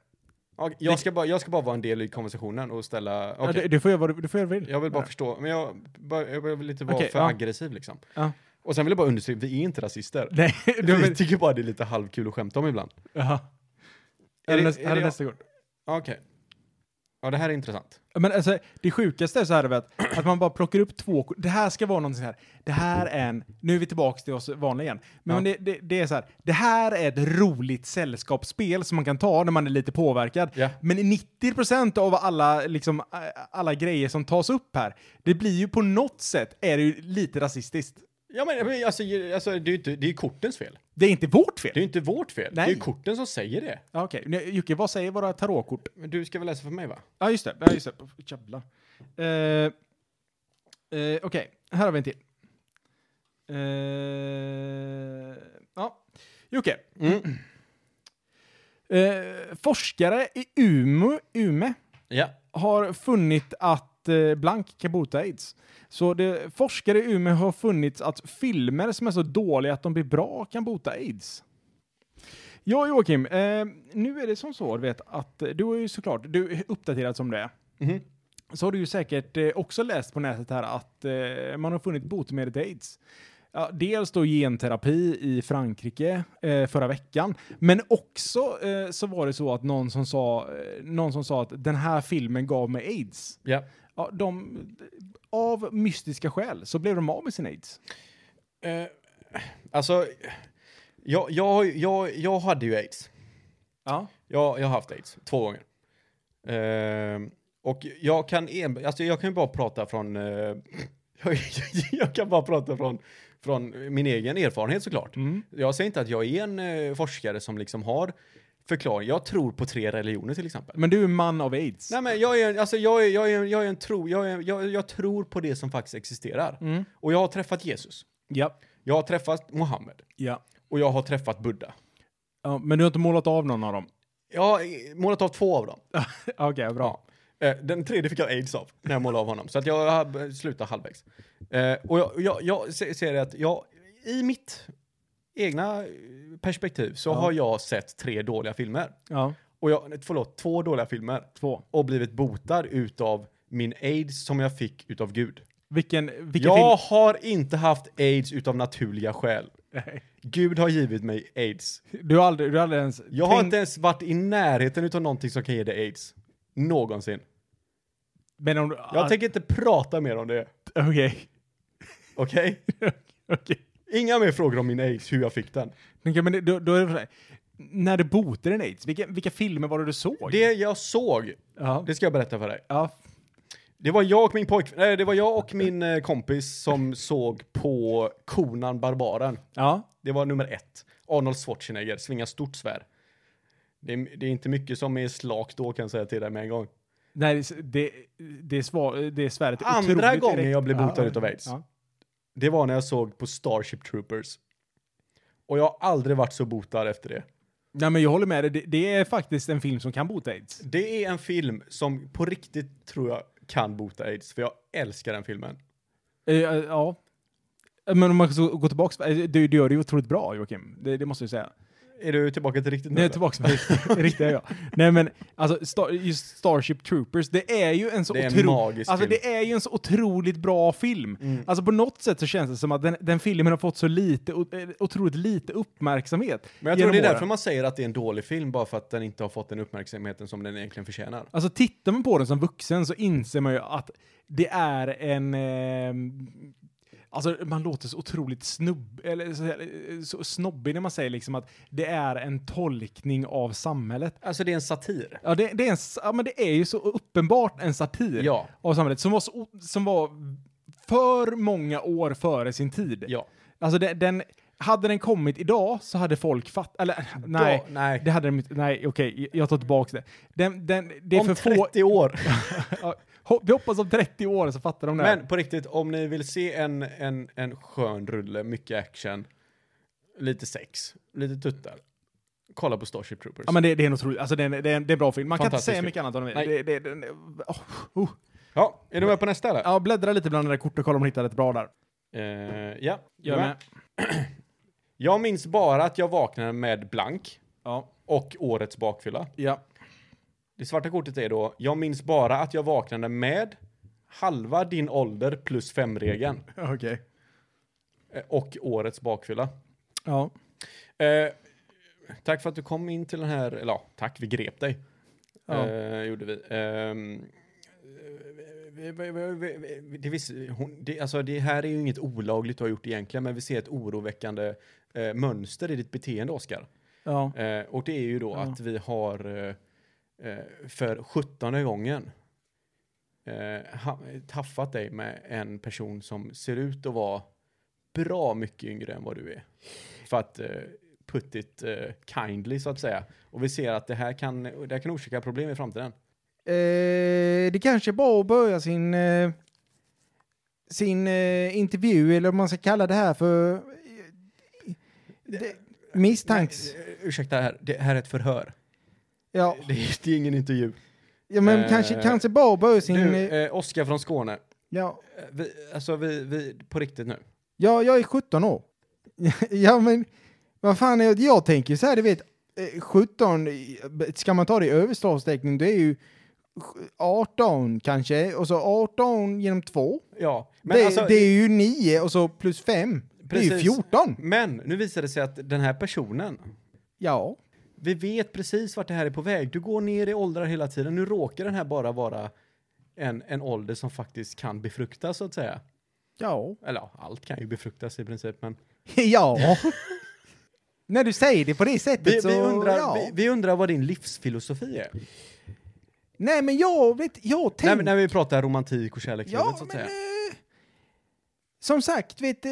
Ja, Jag ska, bara, jag ska bara vara en del i konversationen och ställa... Ja, okej. du, du får göra vad du, du får göra vad du vill. Jag vill bara förstå, men jag, bara, jag vill inte vara Okej, för ja. aggressiv liksom. Ja. Och sen vill jag bara understryka, vi är inte rasister. Nej, du Vi vill... tycker bara det är lite halvkul att skämta om ibland. Jaha. Är Är det, det- nästa- är här är det- nästa kort. Okej. Ja, det här är intressant. Men alltså, det sjukaste är så här vet, att man bara plockar upp två kort. Det här ska vara någonting så här. Det här är en... Nu är vi tillbaka till oss vanliga igen. Men Ja. det, det, det är så här. Det här är ett roligt sällskapsspel som man kan ta när man är lite påverkad. Ja. Men 90% av alla, liksom, äh, alla grejer som tas upp här, det blir ju på något sätt är det ju lite rasistiskt. Ja men men alltså, ju- alltså det är ju inte, det är ju kortens fel. Det är inte vårt fel. Det är ju inte vårt fel. Nej. Det är ju korten som säger det. Ja, Okej, Nu, Jocke, vad säger våra tarotkort? Men du ska väl läsa för mig va? Ja, just det. Ja, just det. Jävlar. Eh, eh, Okej, här har vi en till. Eh, ja. Jocke. Eh, forskare i Umeå, Ume Ja. har funnit att eh, blank kan bota aids. Så det, forskare i Umeå har funnit att filmer som är så dåliga att de blir bra kan bota aids. Ja, Joakim, eh, nu är det som så du vet, att eh, du är ju såklart du är uppdaterad som det är. Mhm. Så har du ju säkert eh, också läst på nätet här att eh, man har funnit botemedel till aids. Ja, dels då genterapi i Frankrike eh, förra veckan, men också eh, så var det så att någon som, sa, eh, någon som sa att den här filmen gav mig aids. Ja. Ja, de, av mystiska skäl så blev de av med sin aids. Eh, alltså, jag, jag, jag, jag hade ju aids. Ja. Jag, jag har haft aids två gånger. Ehm, och jag kan en, alltså jag kan ju bara prata från, eh, jag, jag kan bara prata från, från min egen erfarenhet såklart. Mm. Jag säger inte att jag är en eh, forskare som liksom har förklaring. Jag tror på tre religioner till exempel. Men du är man av aids. Nej men jag är, en- alltså jag är, jag är, jag är en tro, jag, är, jag, jag tror på det som faktiskt existerar. Mm. Och jag har träffat Jesus. Ja. Jag har träffat Mohammed. Ja. Och jag har träffat Buddha. ja. Men du har inte målat av någon av dem? Jag har eh, målat av två av dem. Okej, bra. Eh, Den tredje fick jag aids av när jag målade av honom. Så att jag har- slutade halvvägs. Eh, Och jag, jag, jag se- ser att jag, i mitt egna eh, perspektiv så Ja. har jag sett tre dåliga filmer. Ja. Och jag, förlåt, två dåliga filmer. Två. Och blivit botad utav min aids som jag fick utav Gud. Vilken, vilken Jag film? har inte haft aids utav naturliga skäl. Nej. Gud har givit mig aids. Du har aldrig, du har aldrig ens... Jag har inte ens varit i närheten utav någonting som kan ge dig aids. Någonsin. Men om du... Jag tänker inte prata mer om det. Okej. Okej? Okej. Inga mer frågor om min aids, hur jag fick den. Okej, men det- då, då är det så här. När du botade din aids, vilka, vilka filmer var det du såg? Det jag såg, Ja. det ska jag berätta för dig. ja. Det var jag och min pojk, nej, det var jag och min eh, kompis som såg på Konan Barbaren. Ja. Det var nummer ett. Arnold Schwarzenegger, svinga stort svär. Det är, det är inte mycket som är slakt då kan jag säga till dig med en gång. Nej, det, är s- det, det, är svar, det är svärdet Andra otroligt gången direkt. jag blev botad utav aids. Ja. Det var när jag såg på Starship Troopers. Och jag har aldrig varit så botad efter det. Nej, men jag håller med dig. Det, det är faktiskt en film som kan bota aids. Det är en film som på riktigt tror jag kan bota aids, för jag älskar den filmen. Eh, eh, ja. Eh, Men om man så går tillbaka, eh, du, du gör det ju otroligt bra Joakim, det, det måste jag säga. Är du tillbaka till riktigt nu? Nej, eller? tillbaka med riktiga jag. Nej men, alltså Star, just Starship Troopers, det är ju en så Det är en otro- magisk Alltså film. Mm. det är ju en så otroligt bra film. Alltså på något sätt så känns det som att den, den filmen har fått så lite, o- eh, otroligt lite uppmärksamhet. Men jag tror genom det är åren. därför man säger att det är en dålig film, bara för att den inte har fått den uppmärksamheten som den egentligen förtjänar. Alltså tittar man på den som vuxen så inser man ju att det är en... ehm, alltså man låter så otroligt snubb, eller så, så snobbig när man säger liksom att det är en tolkning av samhället. Alltså det är en satir. Ja, det, det, är, en, s- ja, men det är ju så uppenbart en satir Ja. av samhället som var, så, o- som var för många år före sin tid. Ja. Alltså det, den, hade den kommit idag så hade folk fattat, eller nej, nej. det hade den inte, nej okej, jag tar tillbaka det. Den, den, det är om för få, 30 år. Ja, hop- vi hoppas om 30 år så fattar de det. här. Men på riktigt, om ni vill se en, en, en skön rulle, mycket action, lite sex, lite tuttar, kolla på Starship Troopers. ja, men det, det är en otrolig, alltså det är, en- det, är en, det är en bra film. Man kan inte Fantastisk säga film. mycket annat om den. Nej. Det, det, det, det, oh, oh. Ja, är du med på nästa eller? Ja, bläddra lite bland de där korten och kolla om de hittar ett bra där. Eh, ja. Gör med. Jag minns bara att jag vaknade med blank Ja. och årets bakfylla. Ja. Det svarta kortet är då, jag minns bara att jag vaknade med halva din ålder plus femregeln Okej. eh, och årets bakfylla. Ja. Eh, tack för att du kom in till den här, eller ja, tack, vi grep dig. Ja. Eh, gjorde vi. Ehm, vi- vi- vi- vi- vi- Det, visst, hon, det, alltså det här är ju inget olagligt du har gjort egentligen, men vi ser ett oroväckande eh, mönster i ditt beteende, Oskar. Ja. Eh, och det är ju då Ja. att vi har eh, eh, för sjuttonde gången eh, ha, taffat dig med en person som ser ut att vara bra mycket yngre än vad du är. För att eh, put it eh, kindly så att säga. Och vi ser att det här kan, det här kan orsaka problem i framtiden. Eh, det kanske är bra att börja sin, eh, sin eh, intervju, eller om man ska kalla det här för... eh, Det, misstanks... Nej, eh, ursäkta här, det här är ett förhör. Ja, Det, är- det är ingen intervju. ja men eh, kanske, kanske bara att börja sin... Du, eh, eh, Oskar från Skåne. ja, Eh, Vi, alltså vi, vi, på riktigt nu. ja, jag är 17 år. ja, men vad fan är det? Jag tänker så här, du vet, eh, 17, eh, ska man ta det i överstavsteckning, det är ju 18 kanske, och så 18 genom 2. Ja, alltså, det, det är ju 9 och så plus 5. Det är ju Precis. 14. Men nu visar det sig att den här personen, Ja. vi vet precis vart det här är på väg. Du går ner i åldrar hela tiden. Nu råkar den här bara vara en, en ålder som faktiskt kan befruktas så att säga. Ja. Eller ja, allt kan ju befruktas i princip, men ja. När du säger det på det sättet vi, så... vi, undrar, ja. vi, vi undrar vad din livsfilosofi är. Nej, men jag vet... Jag När, tänker... när vi pratar romantik och kärlekslivet ja, så att men... säga. Eh, som sagt, vet du...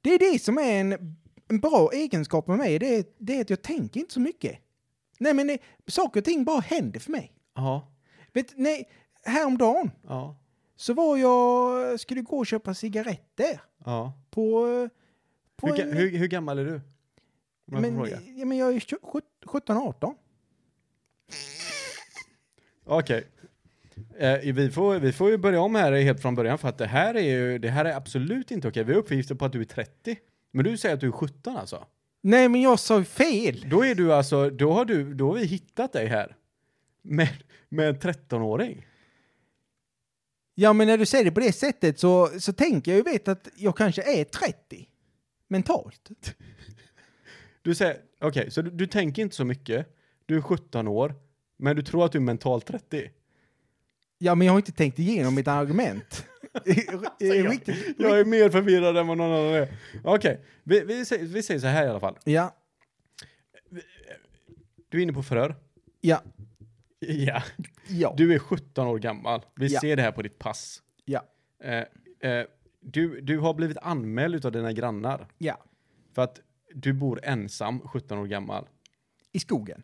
Det är det som är en, en bra egenskap med mig. Det är, det är att jag tänker inte så mycket. Nej, men det, saker och ting bara händer för mig. Ja, Vet du, nej, häromdagen ja, så var jag... Skulle gå och köpa cigaretter ja. på... eh, på Hur, ga- en- hur, hur gammal är du? Om jag får Men, fråga. ja, men jag är 17-18. Okej. Eh, vi, får, vi får ju börja om här helt från början för att det här är ju, det här är absolut inte okej. Vi har uppgifter på att du är 30. Men du säger att du är 17 alltså. Nej, men jag sa ju fel. Då är du alltså, då har du, då har vi hittat dig här. Med, med en 13-åring. Ja, men när du säger det på det sättet så, så tänker jag ju vet att jag kanske är 30. Mentalt. Du säger, okej, så du, du tänker inte så mycket. Du är 17 år, men du tror att du är mentalt 30. Ja, men jag har inte tänkt igenom mitt argument. jag. Riktigt. Jag är mer förvirrad än vad någon annan är. Okej, vi, vi, säger- vi säger så här i alla fall. Ja, Du är inne på förhör. ja, Ja. ja. Du är 17 år gammal. Vi Ja. ser det här på ditt pass. Ja. Eh, eh, du, du har blivit anmäld av dina grannar ja. för att du bor ensam, 17 år gammal. I skogen.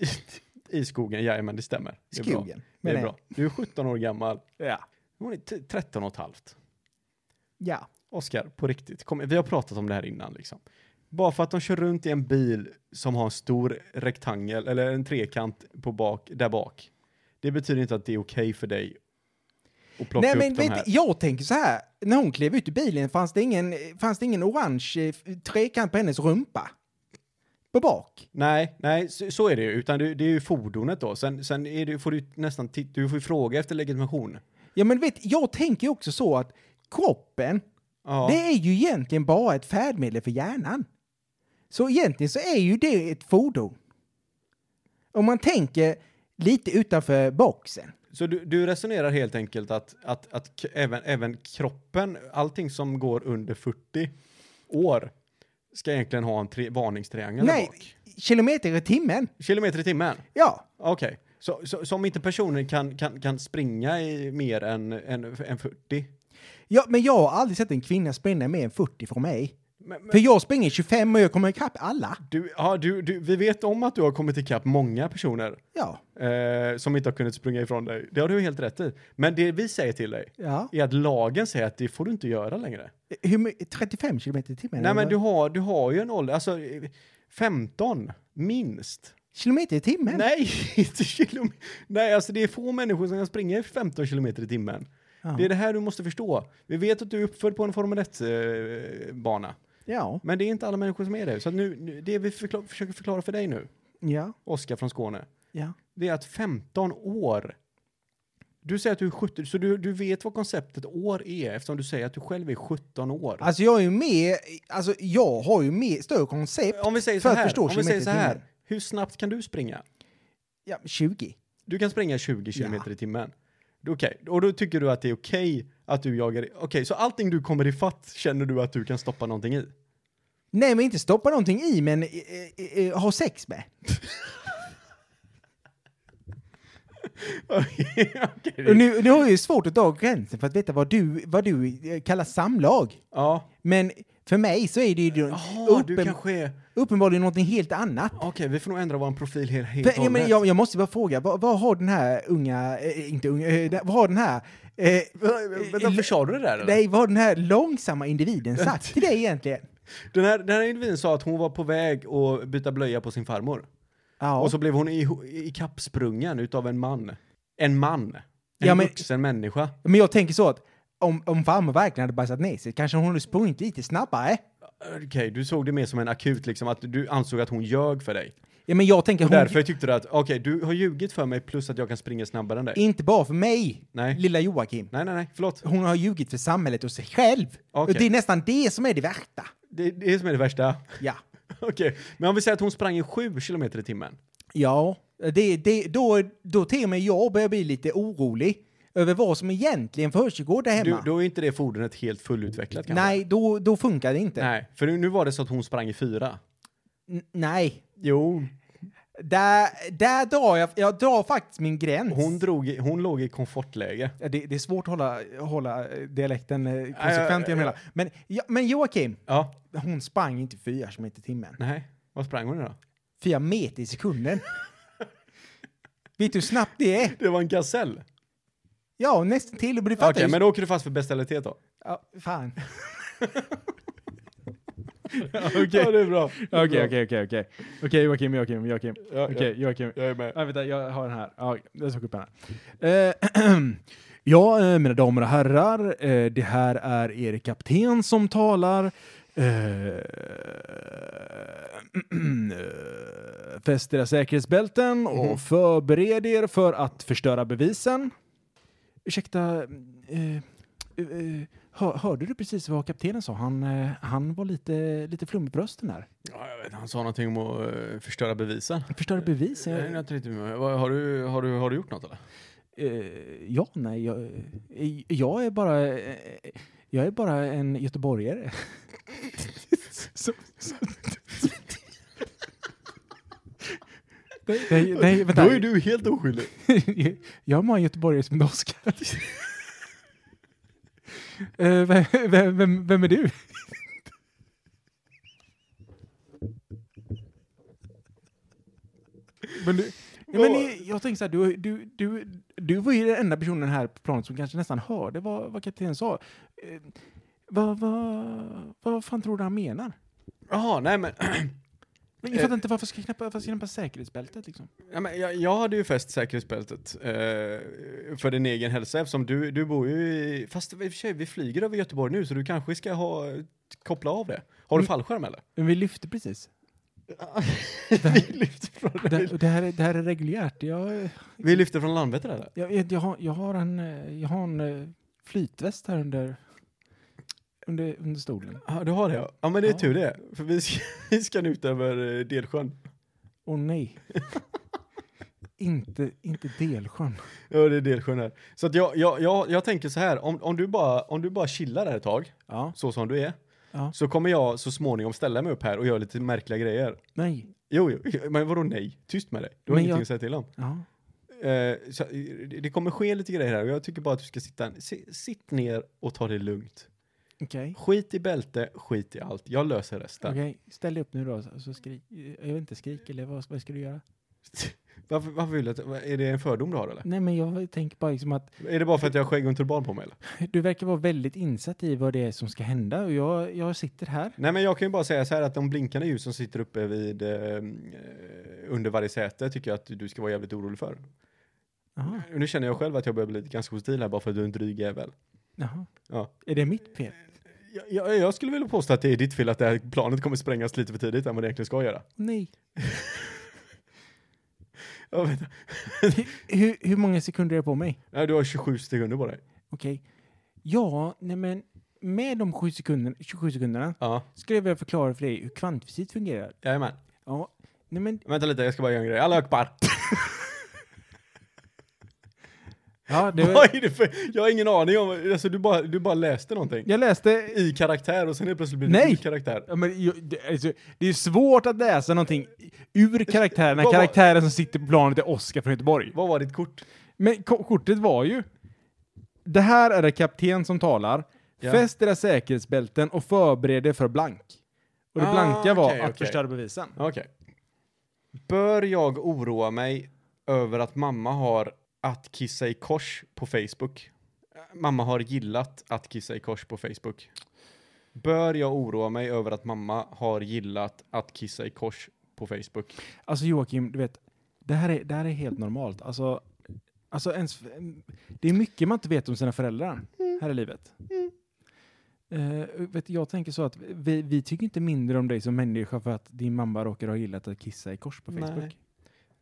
I, i skogen, jajamän, det stämmer. Det är bra. Skogen. Det menar är jag. bra. Du är 17 år gammal. Ja. Hon är t- 13 och ett halvt. Ja. Oskar, på riktigt. Kom, vi har pratat om det här innan liksom. Bara för att de kör runt i en bil som har en stor rektangel eller en trekant på bak, där bak. Det betyder inte att det är okej för dig att plocka Nej, men upp de vet här. du, jag tänker så här. När hon klev ut ur bilen fanns det ingen, fanns det ingen orange eh, f- trekant på hennes rumpa. På bak. Nej, nej, så, så är det ju. Utan det, det är ju fordonet då. Sen, sen är det, får du nästan titta, du får ju fråga efter legitimation. Ja, men vet jag tänker ju också så att kroppen Ja. Det är ju egentligen bara ett färdmedel för hjärnan. Så egentligen så är ju det ett fordon. Om man tänker lite utanför boxen. Så du, du resonerar helt enkelt att, att, att k- även, även kroppen, allting som går under 40 år ska egentligen ha en tre, varningstriangel där Nej, bak. kilometer i timmen. Kilometer i timmen? Ja, Okej. Så, så, så om inte personen kan, kan, kan springa i mer än, än, än 40? ja, men jag har aldrig sett en kvinna springa mer än 40 från mig. Men, men, För jag springer 25 och jag kommer ikapp alla. du, ja, du, du, vi vet om att du har kommit ikapp många personer. Ja, eh, som inte har kunnat springa ifrån dig. Det har du helt rätt i. Men det vi säger till dig ja. är att lagen säger att det får du inte göra längre. Hur, my- 35 kilometer i timmen? Nej, men eller? du har, du har ju en ålder, alltså eh, 15 minst. Kilometer i timmen? Nej, inte kilom- Nej, alltså det är få människor som kan springa i 15 kilometer i timmen. Ja. Det är det här du måste förstå. Vi vet att du är uppfödd på en Formel 1-bana. Ja, Men det är inte alla människor som är det. Så att nu, nu- det vi förkla- försöker förklara för dig nu, ja, Oskar från Skåne, ja. det är att 15 år. Du säger att du är 17, så du, du vet vad konceptet år är eftersom du säger att du själv är 17 år. Alltså jag är ju mer, alltså jag har ju mer, större koncept. om vi säger så för att här, förstå om vi säger kilometer i så här timmen. hur snabbt kan du springa? Ja, 20. Du kan springa 20 Ja. kilometer i timmen. Det är Okej, och då tycker du att det är okej att du jagar... Okej, så allting du kommer ifatt känner du att du kan stoppa någonting i? Nej, men inte stoppa någonting i, men eh, eh, eh, ha sex med. Okej, det- Och Nu, nu har jag ju svårt att dra gränsen för att veta vad du, vad du eh, kallar samlag. Ja. Men för mig så är det ju Jaha, du uppen- kanske... är- uppenbarligen någonting helt annat. Okej, vi får nog ändra vår profil helt, helt För, och ja, men hållet. jag, jag måste bara fråga, vad, vad har den här unga, eh, inte unga, eh, den- vad har den här, eh, Vänta, försade du det där eller? nej, vad har den här långsamma individen sagt till dig egentligen? Den här, den här individen sa att hon var på väg att byta blöja på sin farmor. Ja, Och så blev hon i, i kappsprungen utav en man. En man. En Ja, men- vuxen människa. men jag tänker så att om, om farmor verkligen hade bajsat ner sig kanske hon hade sprungit lite snabbare. Okej, du såg det mer som en akut liksom, att du ansåg att hon ljög för dig. Ja, men jag tänker Och hon, därför tyckte du att, okej, du har ljugit för mig plus att jag kan springa snabbare än dig. inte bara för mig, Nej. lilla Joakim. Nej, nej, nej, förlåt. Hon har ljugit för samhället och sig själv. Okej. Och det är nästan det som är det värsta. Det, det är det som är det värsta. Ja. okej, men om vi säger att hon sprang i 7 kilometer i timmen. Ja, det, det, då, då till och med jag börjar bli lite orolig över vad som egentligen försiggår där Du, hemma. då är inte det fordonet helt fullutvecklat kanske? Nej, då, då funkar det inte. Nej, för nu var det så att hon sprang i fyra. N- nej. Jo. Där, där drar jag, jag drar faktiskt min gräns. Hon, drog i, hon låg i komfortläge. Ja, det, det är svårt att hålla, hålla eh, dialekten eh, Ja, ja, konsekvent genom ja. hela. men, ja, men Joakim, Ja, hon sprang inte fyra kilometer i timmen. nej. Vad sprang hon i då? Fyra meter i sekunden. Vet du hur snabbt det är? Det var en gasell. Ja, nästan till. Men du Okej, fattar ju- men då åker du fast för bestialitet då. ja, fan. Okej. Ja, det är bra. Det är Okej, bra. okej, okej, okej. Okej, Joakim, Joakim, Joakim. Ja, ja. Okej, Joakim. Jag är med. Ja, vänta, jag har den här. Ja, jag såg upp den här. Eh, ja, eh, mina damer och herrar, eh, det här är er kapten som talar. Eh, Fäst era säkerhetsbälten och förbered er för att förstöra bevisen. Ursäkta, eh, eh, hör, hörde du precis vad kaptenen sa? Han, eh, han var lite, lite flummig på rösten där. Ja, jag vet, han sa någonting om att eh, förstöra bevisen. Förstöra bevisen? Nej, Eh, jag tänkte, men vad- har, du, har, du, har du gjort något eller? Eh, ja, nej, jag, eh, jag är bara... eh, jag är bara en göteborgare. så, så. Nej, nej, nej, vänta. Då är du helt oskyldig. jag är bara en göteborgare som heter Oskar. Eh, vem, vem, vem, vem är du? Men du, ja, men eh, jag tänker så här, du, du, du, du var ju den enda personen här på planet som kanske nästan hörde vad, vad kaptenen sa. Eh, vad, vad, vad fan tror du han menar? Jaha, nej men, Jag fattar inte, varför ska jag knäppa, varför ska jag knäppa säkerhetsbältet liksom? ja, men jag, jag hade ju fäst säkerhetsbältet eh, för din egen hälsa eftersom du, du bor ju i, fast i och för sig, vi flyger över Göteborg nu så du kanske ska ha, koppla av det. Har Mm. du fallskärm eller? Men vi lyfte precis. vi lyfter från, Det, det, här, är- det här är reguljärt. Jag, vi lyfter från Landvetter eller? Jag, jag, jag, har, jag, har en, eh, jag har en eh, flytväst här under, under, under stolen. Ja, du har det ja. Ja men det är Ja. tur det, för vi ska, vi ska nu ut över eh, Delsjön. Åh nej. inte, inte Delsjön. Ja det är Delsjön här. Så att jag, jag, jag, jag tänker så här, om, om, du bara, om du bara chillar där ett tag, Ja. så som du är, Ja. så kommer jag så småningom ställa mig upp här och göra lite märkliga grejer. Nej. Jo, jo, men vadå nej? Tyst med dig. Du har Men ingenting jag- att säga till om. Ja. Eh, så, eh, det- det kommer ske lite grejer här och jag tycker bara att du ska sitta, si, sitt ner och ta det lugnt. Okej. Skit i bälte, skit i allt. Jag löser resten. Okej, ställ dig upp nu då. Så så skri- eh, jag vet inte, skrik eller vad, vad ska du göra? Varför, varför vill du att, vad- är det en fördom du har eller? Nej men jag tänker bara liksom att Är det bara för att jag har skägg och en turban på mig eller? du verkar vara väldigt insatt i vad det är som ska hända och jag, jag sitter här. Nej men jag kan ju bara säga så här att de blinkande ljus som sitter uppe vid eh, under varje säte tycker jag att du ska vara jävligt orolig för. Jaha, Nu känner jag själv att jag börjar bli lite ganska hostil här bara för att du är en dryg jävel. jaha. Ja. Är det mitt fel? Jag, jag, jag skulle vilja påstå att det är ditt fel att det här planet kommer sprängas lite för tidigt än vad det egentligen ska göra. Nej. Ja, vänta. Hur, hur många sekunder är det på mig? Nej, du har 27 sekunder på dig. Okej. Ja, nej men med de sju sekunder, 27 sekunderna Ja, skulle jag vilja förklara för dig hur kvantfysik fungerar. jajamän. Ja, nej men Vänta lite, jag ska bara göra en grej. Alla ökpar! Ja, det var, Vad är det för? Jag har ingen aning om, alltså du bara, du bara läste någonting. jag läste... I karaktär och sen helt plötsligt blir det Nej. ur karaktär. Ja, men, ju- det, alltså, det är svårt att läsa någonting ur karaktären när Vad var- karaktären som sitter på planet är Oscar från Göteborg. Vad var ditt kort? Men ko- kortet var ju... Det här är det kapten som talar. Ja. Fäst era säkerhetsbälten och förbered er för blank. Och det Ah, blanka var okej, att okej. förstöra bevisen. Okej. Bör jag oroa mig över att mamma har att kissa i kors på Facebook? Mamma har gillat att kissa i kors på Facebook. Bör jag oroa mig över att mamma har gillat att kissa i kors på Facebook? Alltså Joakim, du vet, det här är, det här är helt normalt. Alltså, alltså ens, det är mycket man inte vet om sina föräldrar Mm. här i livet. Eh, vet, du, jag tänker så att vi, vi tycker inte mindre om dig som människa för att din mamma råkar ha gillat att kissa i kors på Nej. Facebook.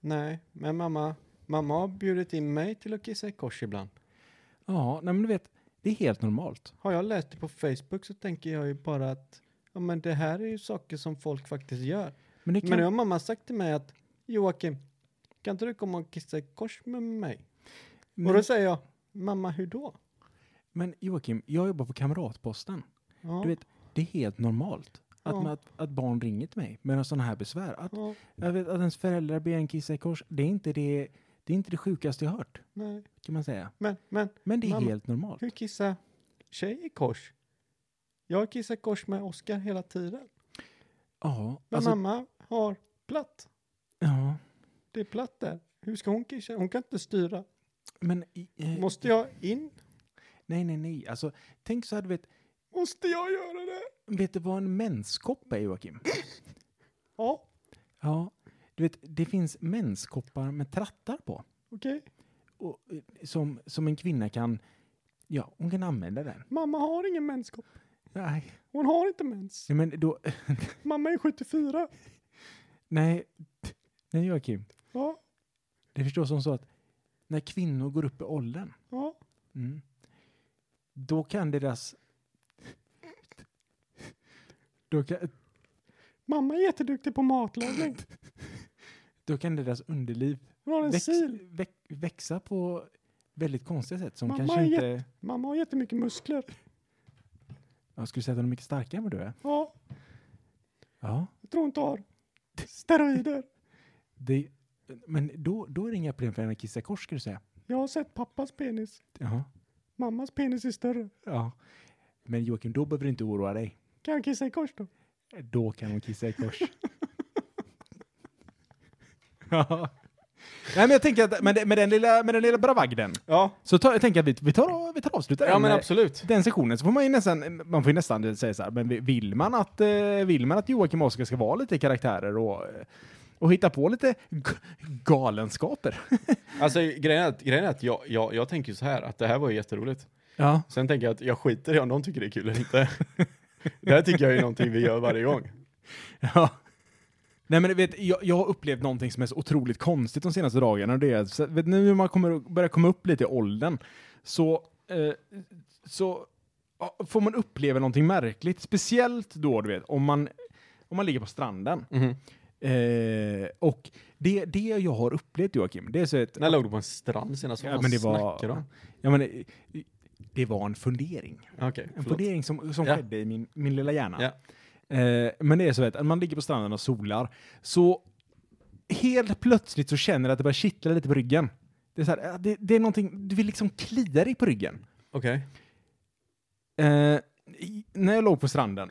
Nej, men mamma, mamma har bjudit in mig till att kissa i kors ibland. Ja, nej, men du vet, det är helt normalt. Har jag läst det på Facebook så tänker jag ju bara att ja, men det här är ju saker som folk faktiskt gör. Men det kan, Men nu har mamma sagt till mig att Joakim, kan inte du komma och kissa i kors med mig? men, Och då säger jag, mamma hur då? men Joakim, jag jobbar på Kamratposten. Ja, Du vet, det är helt normalt. Att, Ja. man- att, att barn ringer till mig med sådana här besvär. Att, ja, jag vet, att ens föräldrar ber en kissa i kors, det är inte det, det, är inte det sjukaste jag hört. nej, kan man säga. men, men, Men det är Mamma. helt normalt. hur kissar tjej i kors? Jag kissar kors med Oskar hela tiden. Ja, Men alltså, mamma har platt. ja, Det är platt där. Hur ska hon kissa? Hon kan inte styra. men... i- eh, Måste jag in? Nej, nej, nej. Alltså, tänk så här, du vet, Måste jag göra det? vet du vad en menskopp är, Joakim? Ja, Ja, du vet, det finns menskoppar med trattar på. okej. Och, eh, som, som en kvinna kan... Ja, hon kan använda den. Mamma har ingen menskopp. Nej, Hon har inte mens. men då... eh, Mamma är 74. Nej, nej Joakim. Ja, Det förstås som så att när kvinnor går upp i åldern, ja. Mm. Då kan deras... Då kan, Mamma är jätteduktig på matlagning. då kan deras underliv Hon har en väx, sil. väx, växa på väldigt konstiga sätt som Mamma kanske är inte... Mamma har jättemycket muskler. Jag skulle säga att de är mycket starkare än vad du är. Ja, Ja. jag tror hon tar steroider. Det, men då, då är det inga problem för henne att kissa i kors, skulle du säga. Jag har sett pappas penis. Jaha. Mammas penis är större. Ja. Men Joakim, då behöver du inte oroa dig. Kan jag kissa i kors då? Då kan hon kissa i kors. ja. Nej, men jag tänker att med, med, den, lilla, med den lilla bravagden Ja, Så ta, jag tänker att vi, vi tar vi tar och avslutar den, eh, absolut. den sessionen. Så får man ju nästan, man får ju nästan säga så här, men vill man att, eh, vill man att Joakim och Oskar ska vara lite karaktärer och, eh, och hitta på lite g- galenskaper? Alltså grejen är att, grejen är att jag, jag, jag tänker ju så här, att det här var ju jätteroligt. Ja. Sen tänker jag att jag skiter i om de tycker det är kul eller inte. det här tycker jag är någonting vi gör varje gång. ja. Nej men du vet, jag, jag har upplevt någonting som är så otroligt konstigt de senaste dagarna. och Det är, så, vet, nu när man kommer, börjar komma upp lite i åldern så, eh, så ja, får man uppleva någonting märkligt. Speciellt då, du vet, om man, om man ligger på stranden. Eh, och det, det jag har upplevt Joakim, det är så att... När låg du på en strand senast? Vad ja, fan men det snackar du var, om? ja, men, eh, det var en fundering. Okej, En förlåt. fundering som, som Ja. skedde i min, min lilla hjärna. Ja. Eh, men det är så att man ligger på stranden och solar, så helt plötsligt så känner du att det börjar kittla lite på ryggen. Det är, så här, eh, det, det är någonting, du vill liksom klia dig på ryggen. Okej. Eh, i- när jag låg på stranden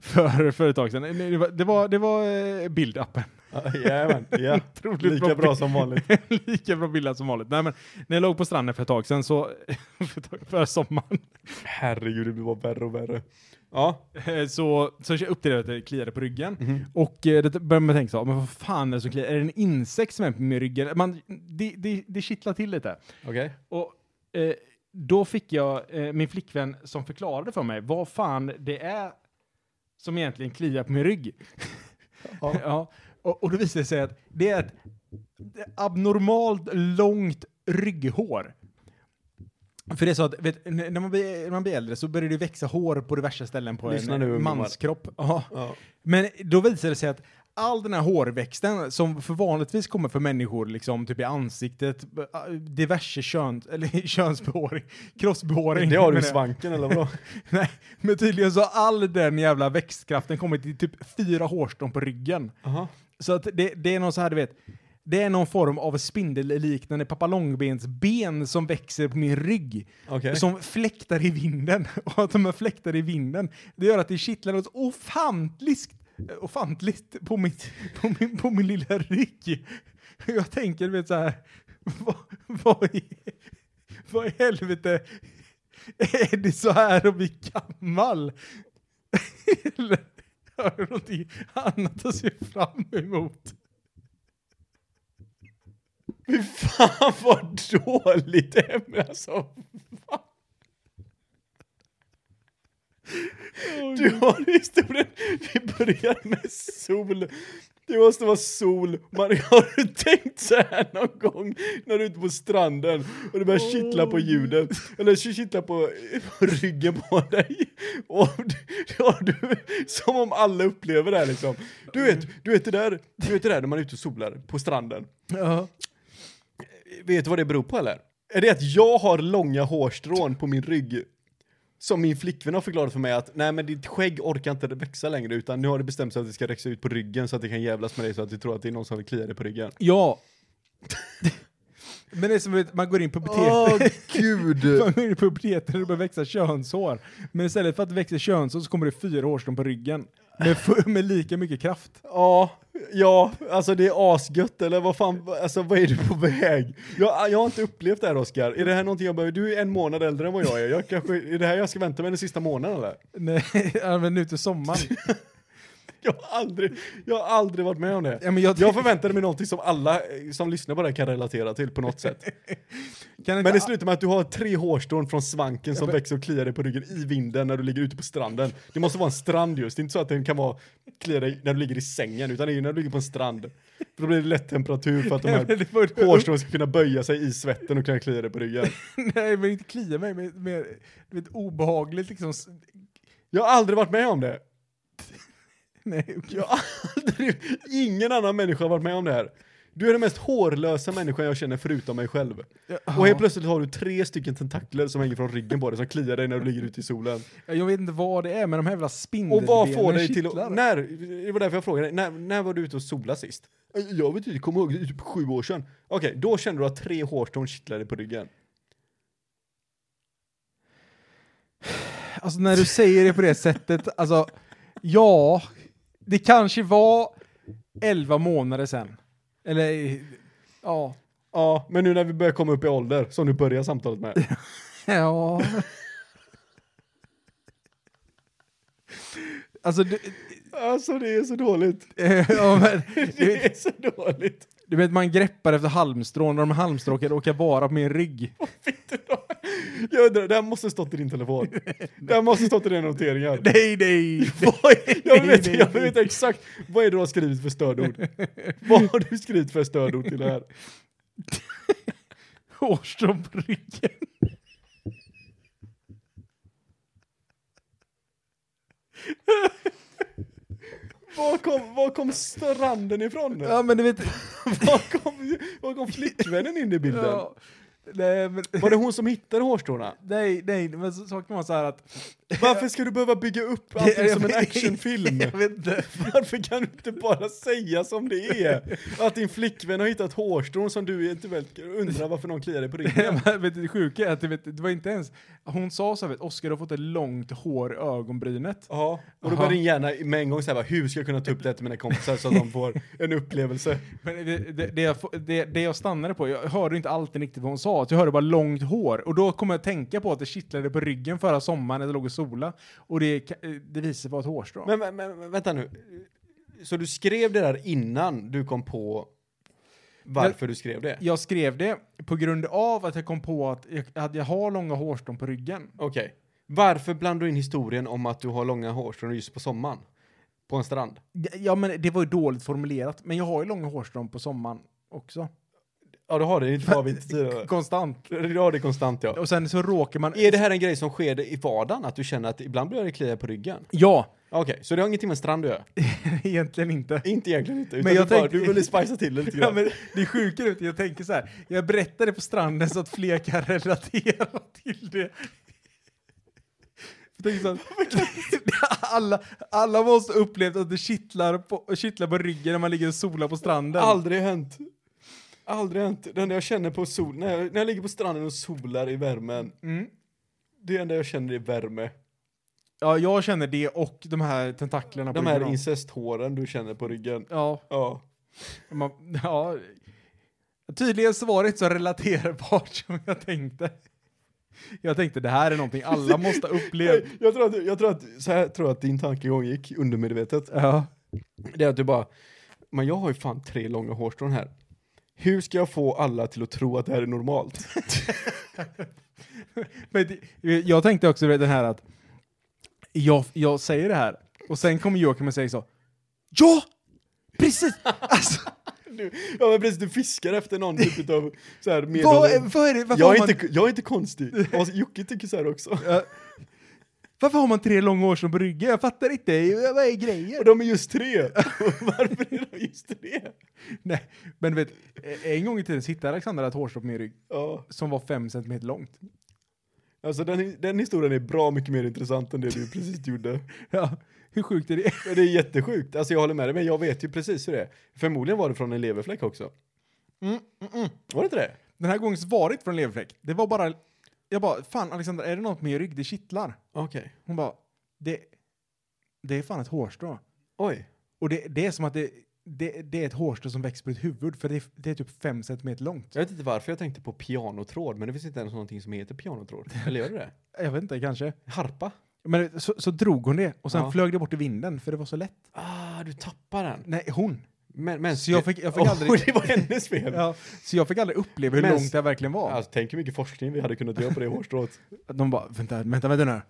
för, för ett tag sedan, nej, det var, det var, det var eh, build-upen. Ja, Jajamän, ja. Otroligt Lika bra som vanligt. Lika bra bilder som vanligt. Nej, men när jag låg på stranden för ett tag sedan så, för, ett tag- för sommaren, Herregud, det blir bara värre och värre. Ja, eh, så, så jag upptäckte jag att det kliade på ryggen. Och eh, det började man tänka så, men vad fan är det som kliar? Är det en insekt som är på min rygg? Man, det, det, det kittlar till lite. okej. Och eh, då fick jag eh, min flickvän som förklarade för mig vad fan det är som egentligen kliar på min rygg. Ja. ja. Och, och då visade det sig att det är ett abnormalt långt rygghår. För det är så att vet, n- när, man blir, när man blir äldre så börjar det växa hår på diverse ställen på Lyssna en nu, ungdomar. manskropp. Ja. Ja. Men då visade det sig att all den här hårväxten som för vanligtvis kommer för människor liksom typ i ansiktet, b- äh, diverse kön, eller könsbehåring, kroppsbehåring. Det har du i menar jag. svanken eller vadå? Nej, men tydligen så har all den jävla växtkraften kommit i typ fyra hårstrån på ryggen. Jaha. Så att det, det är någon så här, du vet, det är någon form av spindelliknande papalongbensben som växer på min rygg. Okej. Som fläktar i vinden. Och att de här fläktar i vinden, det gör att det kittlar något ofantligt, ofantligt på, mitt, på, min, på min lilla rygg. Jag tänker, du vet så här, vad, vad, i, vad i helvete är det så här att bli gammal? Eller har du någonting annat att se fram emot? Fan vad dåligt ämne alltså. Fan. Du har historien, vi börjar med sol. Det måste vara sol. Maria, har du tänkt så här någon gång när du är ute på stranden och det börjar kittla på ljuden? Eller kittla på, på ryggen på dig? Och du, ja, du, som om alla upplever det här liksom. Du vet, du vet det där, du vet det där när man är ute och solar på stranden. Ja. Vet du vad det beror på eller? Är det att jag har långa hårstrån på min rygg? Som min flickvän har förklarat för mig att nej men ditt skägg orkar inte växa längre utan nu har det bestämt sig att det ska växa ut på ryggen så att det kan jävlas med dig så att du tror att det är någon som vill klia dig på ryggen. Ja. Men det är som att man går in på puberteten. gud! Man går in i puberteten och det börjar växa könshår. Men istället för att det växer könshår så kommer det fyra hårstrån på ryggen. Med, fu- med lika mycket kraft. Ja, ja, alltså det är asgött eller vad fan, alltså vad är du på väg? Jag, jag har inte upplevt det här Oskar, är det här någonting jag behöver? Du är en månad äldre än vad jag är, jag kanske, är det här jag ska vänta med den sista månaden eller? Nej, ja, men nu till sommaren. Jag har aldrig, jag har aldrig varit med om det. Ja, men jag, Jag förväntade mig någonting som alla eh, som lyssnar på det här kan relatera till på något sätt. kan inte Men det slutar med att du har tre hårstrån från svanken som växer och kliar dig på ryggen i vinden när du ligger ute på stranden. Det måste vara en strand just, det är inte så att den kan vara klia dig när du ligger i sängen utan det är ju när du ligger på en strand. För då blir det lätt temperatur för att de Nej, men det var- här hårstrån ska kunna böja sig i svetten och kunna klia dig på ryggen. Nej, men inte klia mig. Men, men, du vet, obehagligt liksom. S- Jag har aldrig varit med om det. Nej, Jag har aldrig, ingen annan människa har varit med om det här. Du är den mest hårlösa människan jag känner förutom mig själv. Och helt plötsligt har du tre stycken tentakler som hänger från ryggen på dig som kliar dig när du ligger ute i solen. jag vet inte vad det är, men de här jävla spindelbenen Och vad får dig till kittlar. att... Mm. När, det var därför jag frågade dig, när, när var du ute och sola sist? Jag vet inte, kom ihåg, det är typ sju år sedan. Okej, då kände du att tre hårstrån kittlade på ryggen. Alltså när du säger det på det sättet, alltså ja, det kanske var 11 månader sedan. Eller ja, Ja, men nu när vi börjar komma upp i ålder, som du börjar samtalet med. ja. Alltså, du, Alltså det är så dåligt. eh, ja, men, du, vet, Det är så dåligt. du vet, man greppar efter halmstrån och de halmstråkar råkar vara på min rygg. Jag undrar, det här måste stått i din telefon. Det här måste stått i dina noteringar. Nej, nej! Vad är- Jag vill Nej, veta, nej, jag vill nej. veta exakt, vad är det du har skrivit för stödord? Vad har du skrivit för stödord till det här? Hårstrån på ryggen. Var kom, var kom stranden ifrån? Ja, men du vet... Var, kom, var kom flickvännen in i bilden? Ja, nej, men, Var det hon som hittade hårstråna? nej, nej, men så- saken var så här att... Varför ska du behöva bygga upp allting som en actionfilm? Jag vet inte. Varför kan du inte bara säga som det är? Att din flickvän har hittat hårstrån som du eventuellt undrar varför någon kliar dig på ryggen. Men vet du, det sjuka är att det, vet, det var inte ens... Hon sa så här, vet Oskar har fått ett långt hår i ögonbrynet. Ja, och Aha. då börjar din hjärna med en gång säga hur ska jag kunna ta upp det här till mina kompisar så att de får en upplevelse? Men det, det, det, jag, få- det, det jag stannade på, jag hörde inte alltid riktigt vad hon sa, så jag hörde bara långt hår. Och då kom jag att tänka på att det kittlade på ryggen förra sommaren när jag låg och sola. Och det, ka- det visade sig vara ett hårstrå. Men, men, men men vänta nu. Så du skrev det där innan du kom på varför du skrev det? jag skrev det på grund av att jag kom på att jag, att jag har långa hårstrån på ryggen. Okej. Varför blandar du in historien om att du har långa hårstrån just på sommaren? På en strand? Ja, men det var ju dåligt formulerat. Men jag har ju långa hårstrån på sommaren också. Ja, du har det ju inte avvikt syre. Konstant. Du har det konstant, ja. Och sen så råkar man... Är det här en grej som sker i vardagen? Att du känner att ibland börjar det klia på ryggen? Ja, Okej, så det har ingenting med strand att göra? egentligen inte. Inte egentligen inte. Utan Men jag du, bara, tänkte- du ville spicea till det lite Ja, grann. men det är sjukare ut. Jag tänker så här. Jag berättar det på stranden så att fler kan relatera till det. Jag tänker så här, alla, alla måste ha upplevt att det kittlar på, kittlar på ryggen när man ligger och solar på stranden. Aldrig hänt. Aldrig hänt. Det enda jag känner på sol, när jag, när jag ligger på stranden och solar i värmen. Mm. Det enda jag känner är värme. Ja, jag känner det och de här tentaklerna på De här ryggen. incesthåren du känner på ryggen. ja, Ja. man, ja. Tydligen så var det inte så relaterbart som jag tänkte. Jag tänkte det här är någonting alla måste ha upplevt. Jag tror att, jag tror att, så här tror jag att din tankegång gick undermedvetet. Ja. Det är att du bara, men jag har ju fan tre långa hårstrån här. Hur ska jag få alla till att tro att det här är normalt? Men det- jag tänkte också den här att jag, jag säger det här och sen kommer Joakim och säger så. Ja! Precis! Alltså, Du, ja men precis, du fiskar efter någon typ av så här vad, medhållande. vad är det, varför, Jag har är, man, inte, jag är inte konstig. Och Jocke tycker så här också. varför har man tre långa år som på ryggen? Jag fattar inte. Vad är grejen? Och de är just tre. Varför är de just tre? Nej, men du vet, en gång i tiden så hittade Alexandra ett hårstrå på min rygg Ja, som var fem centimeter långt. alltså den, den historien är bra mycket mer intressant än det du precis gjorde. Ja, hur sjukt är det? Men Det är jättesjukt. Alltså jag håller med dig, men jag vet ju precis hur det är. Förmodligen var det från en leverfläck också. Mm, Var det inte det? Den här gången så var det inte från leverfläck. Det var bara, jag bara, fan Alexandra, är det något med min rygg? Det kittlar. Okej. Hon bara, det, det är fan ett hårstrå. Oj. Och det, det är som att det, det, det är ett hårstrå som växer på ditt huvud för det, är- det är typ fem centimeter långt. Jag vet inte varför jag tänkte på pianotråd, men det finns inte ens någonting som heter pianotråd. Eller gör det det? Jag vet inte, kanske. Harpa? Men så, så drog hon det och sen Ja. flög det bort i vinden för det var så lätt. Ah, du tappar den. Nej, hon. Men, men, Så jag fick, jag fick Åh, aldrig... det var hennes fel. Ja, så jag fick aldrig uppleva hur Mm. Men- långt det verkligen var. Alltså, tänk hur mycket forskning vi hade kunnat göra på det hårstrået. De bara, vänta, vänta, vänta nu.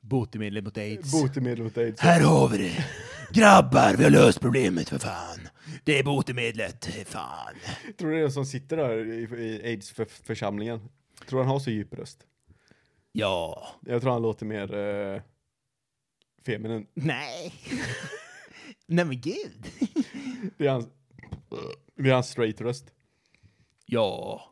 Botemedel mot aids. Botemedel mot aids. Här har vi det. Grabbar, vi har löst problemet för fan. Det är botemedlet, fan. Tror du det är som sitter där i, i aids-församlingen? Tror han har så djup röst? Ja. Jag tror han låter mer eh, feminin. Nej. Nej men gud. Det är hans, det är hans straight röst. Ja.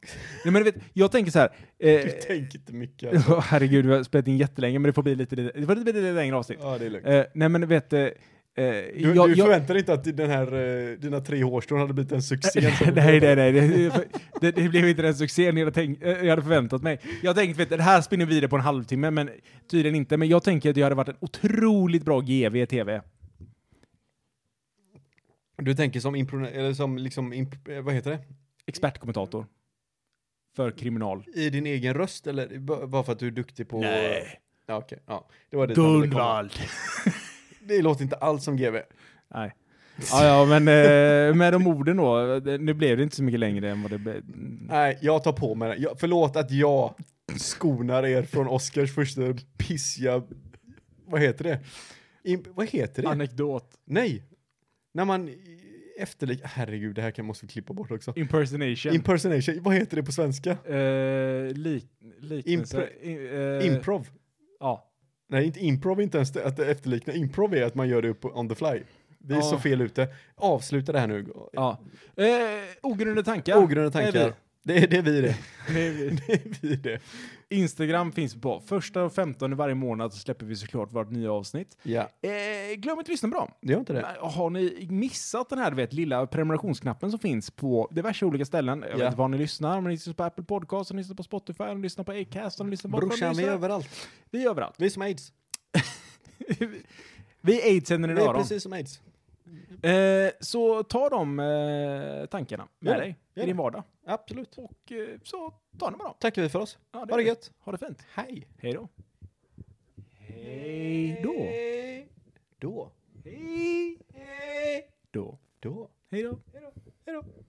Nej, men du vet, jag tänker så här. Du Eh, tänker inte mycket. alltså. oh, herregud, vi har spelat in jättelänge men det får bli lite, det får bli lite längre avsnitt. Ja, det är lugnt. Eh, nej, men du vet... Eh, eh, Du, jag- du jag- förväntar dig inte att den här, eh, dina tre hårstrån hade blivit en succé? som- nej, nej, nej. Det, det, det blev inte den succén jag hade, tänkt, eh, jag hade förväntat mig. Jag tänkte, vet, du, det här spinner vi vidare på en halvtimme, men tydligen inte. Men jag tänker att det hade varit en otroligt bra GV i TV. Du tänker som, impro, eller som liksom, imp, eh, vad heter det? Expertkommentator. För kriminal. I din egen röst eller b- bara för att du är duktig på... Nej. Ja, okej. Ja. Det var det som ville komma. Gunvald. Det låter inte alls som GV. Nej. Ja, ja, men eh, med de orden då. det- Nu blev det inte så mycket längre än vad det blev. Nej, jag tar på mig den. Jag, förlåt att jag skonar er från Oscars första pissiga... Vad heter det? Imp- vad heter det? Anekdot. Nej! När man i- efterlik... Herregud, det här kan måste vi klippa bort också. Impersonation. Impersonation, vad heter det på svenska? Eh, lik, liknelse. Impre- I- eh, Improv? Ja. Nej, inte improv är inte ens det, att efterlikna. Improv är att man gör det upp on the fly. Vi är Ja. så fel ute. Avsluta det här nu. ja. Eh, ogrundade tankar. Ogrundade Det är tankar. vi. Det är, det är vi det. Det är vi. Det är vi det. Instagram finns på första och femtonde varje månad så släpper vi såklart vårt nya avsnitt. Ja, Eh, glöm inte att lyssna på dem. det gör inte det. Men Har ni missat den här du vet, lilla prenumerationsknappen som finns på diverse olika ställen? Jag Ja. vet inte var ni lyssnar, men ni lyssnar på Apple Podcast, ni lyssnar på Spotify, ni lyssnar på Acast, ni lyssnar på... Brorsan, vi är överallt. överallt. Vi är överallt. Vi är som aids. vi är aidsen i Vi är öron. precis som aids. Eh, så ta de eh, tankarna med Gör det. dig Gör i din det. vardag. Absolut. Och eh, så ta dem med dem. Tackar vi för oss. Ja, Ha det gör vi. gött. Ha det fint. Hej. Hej då. Hej då. Då. Hej Då. Hej då. Hej då.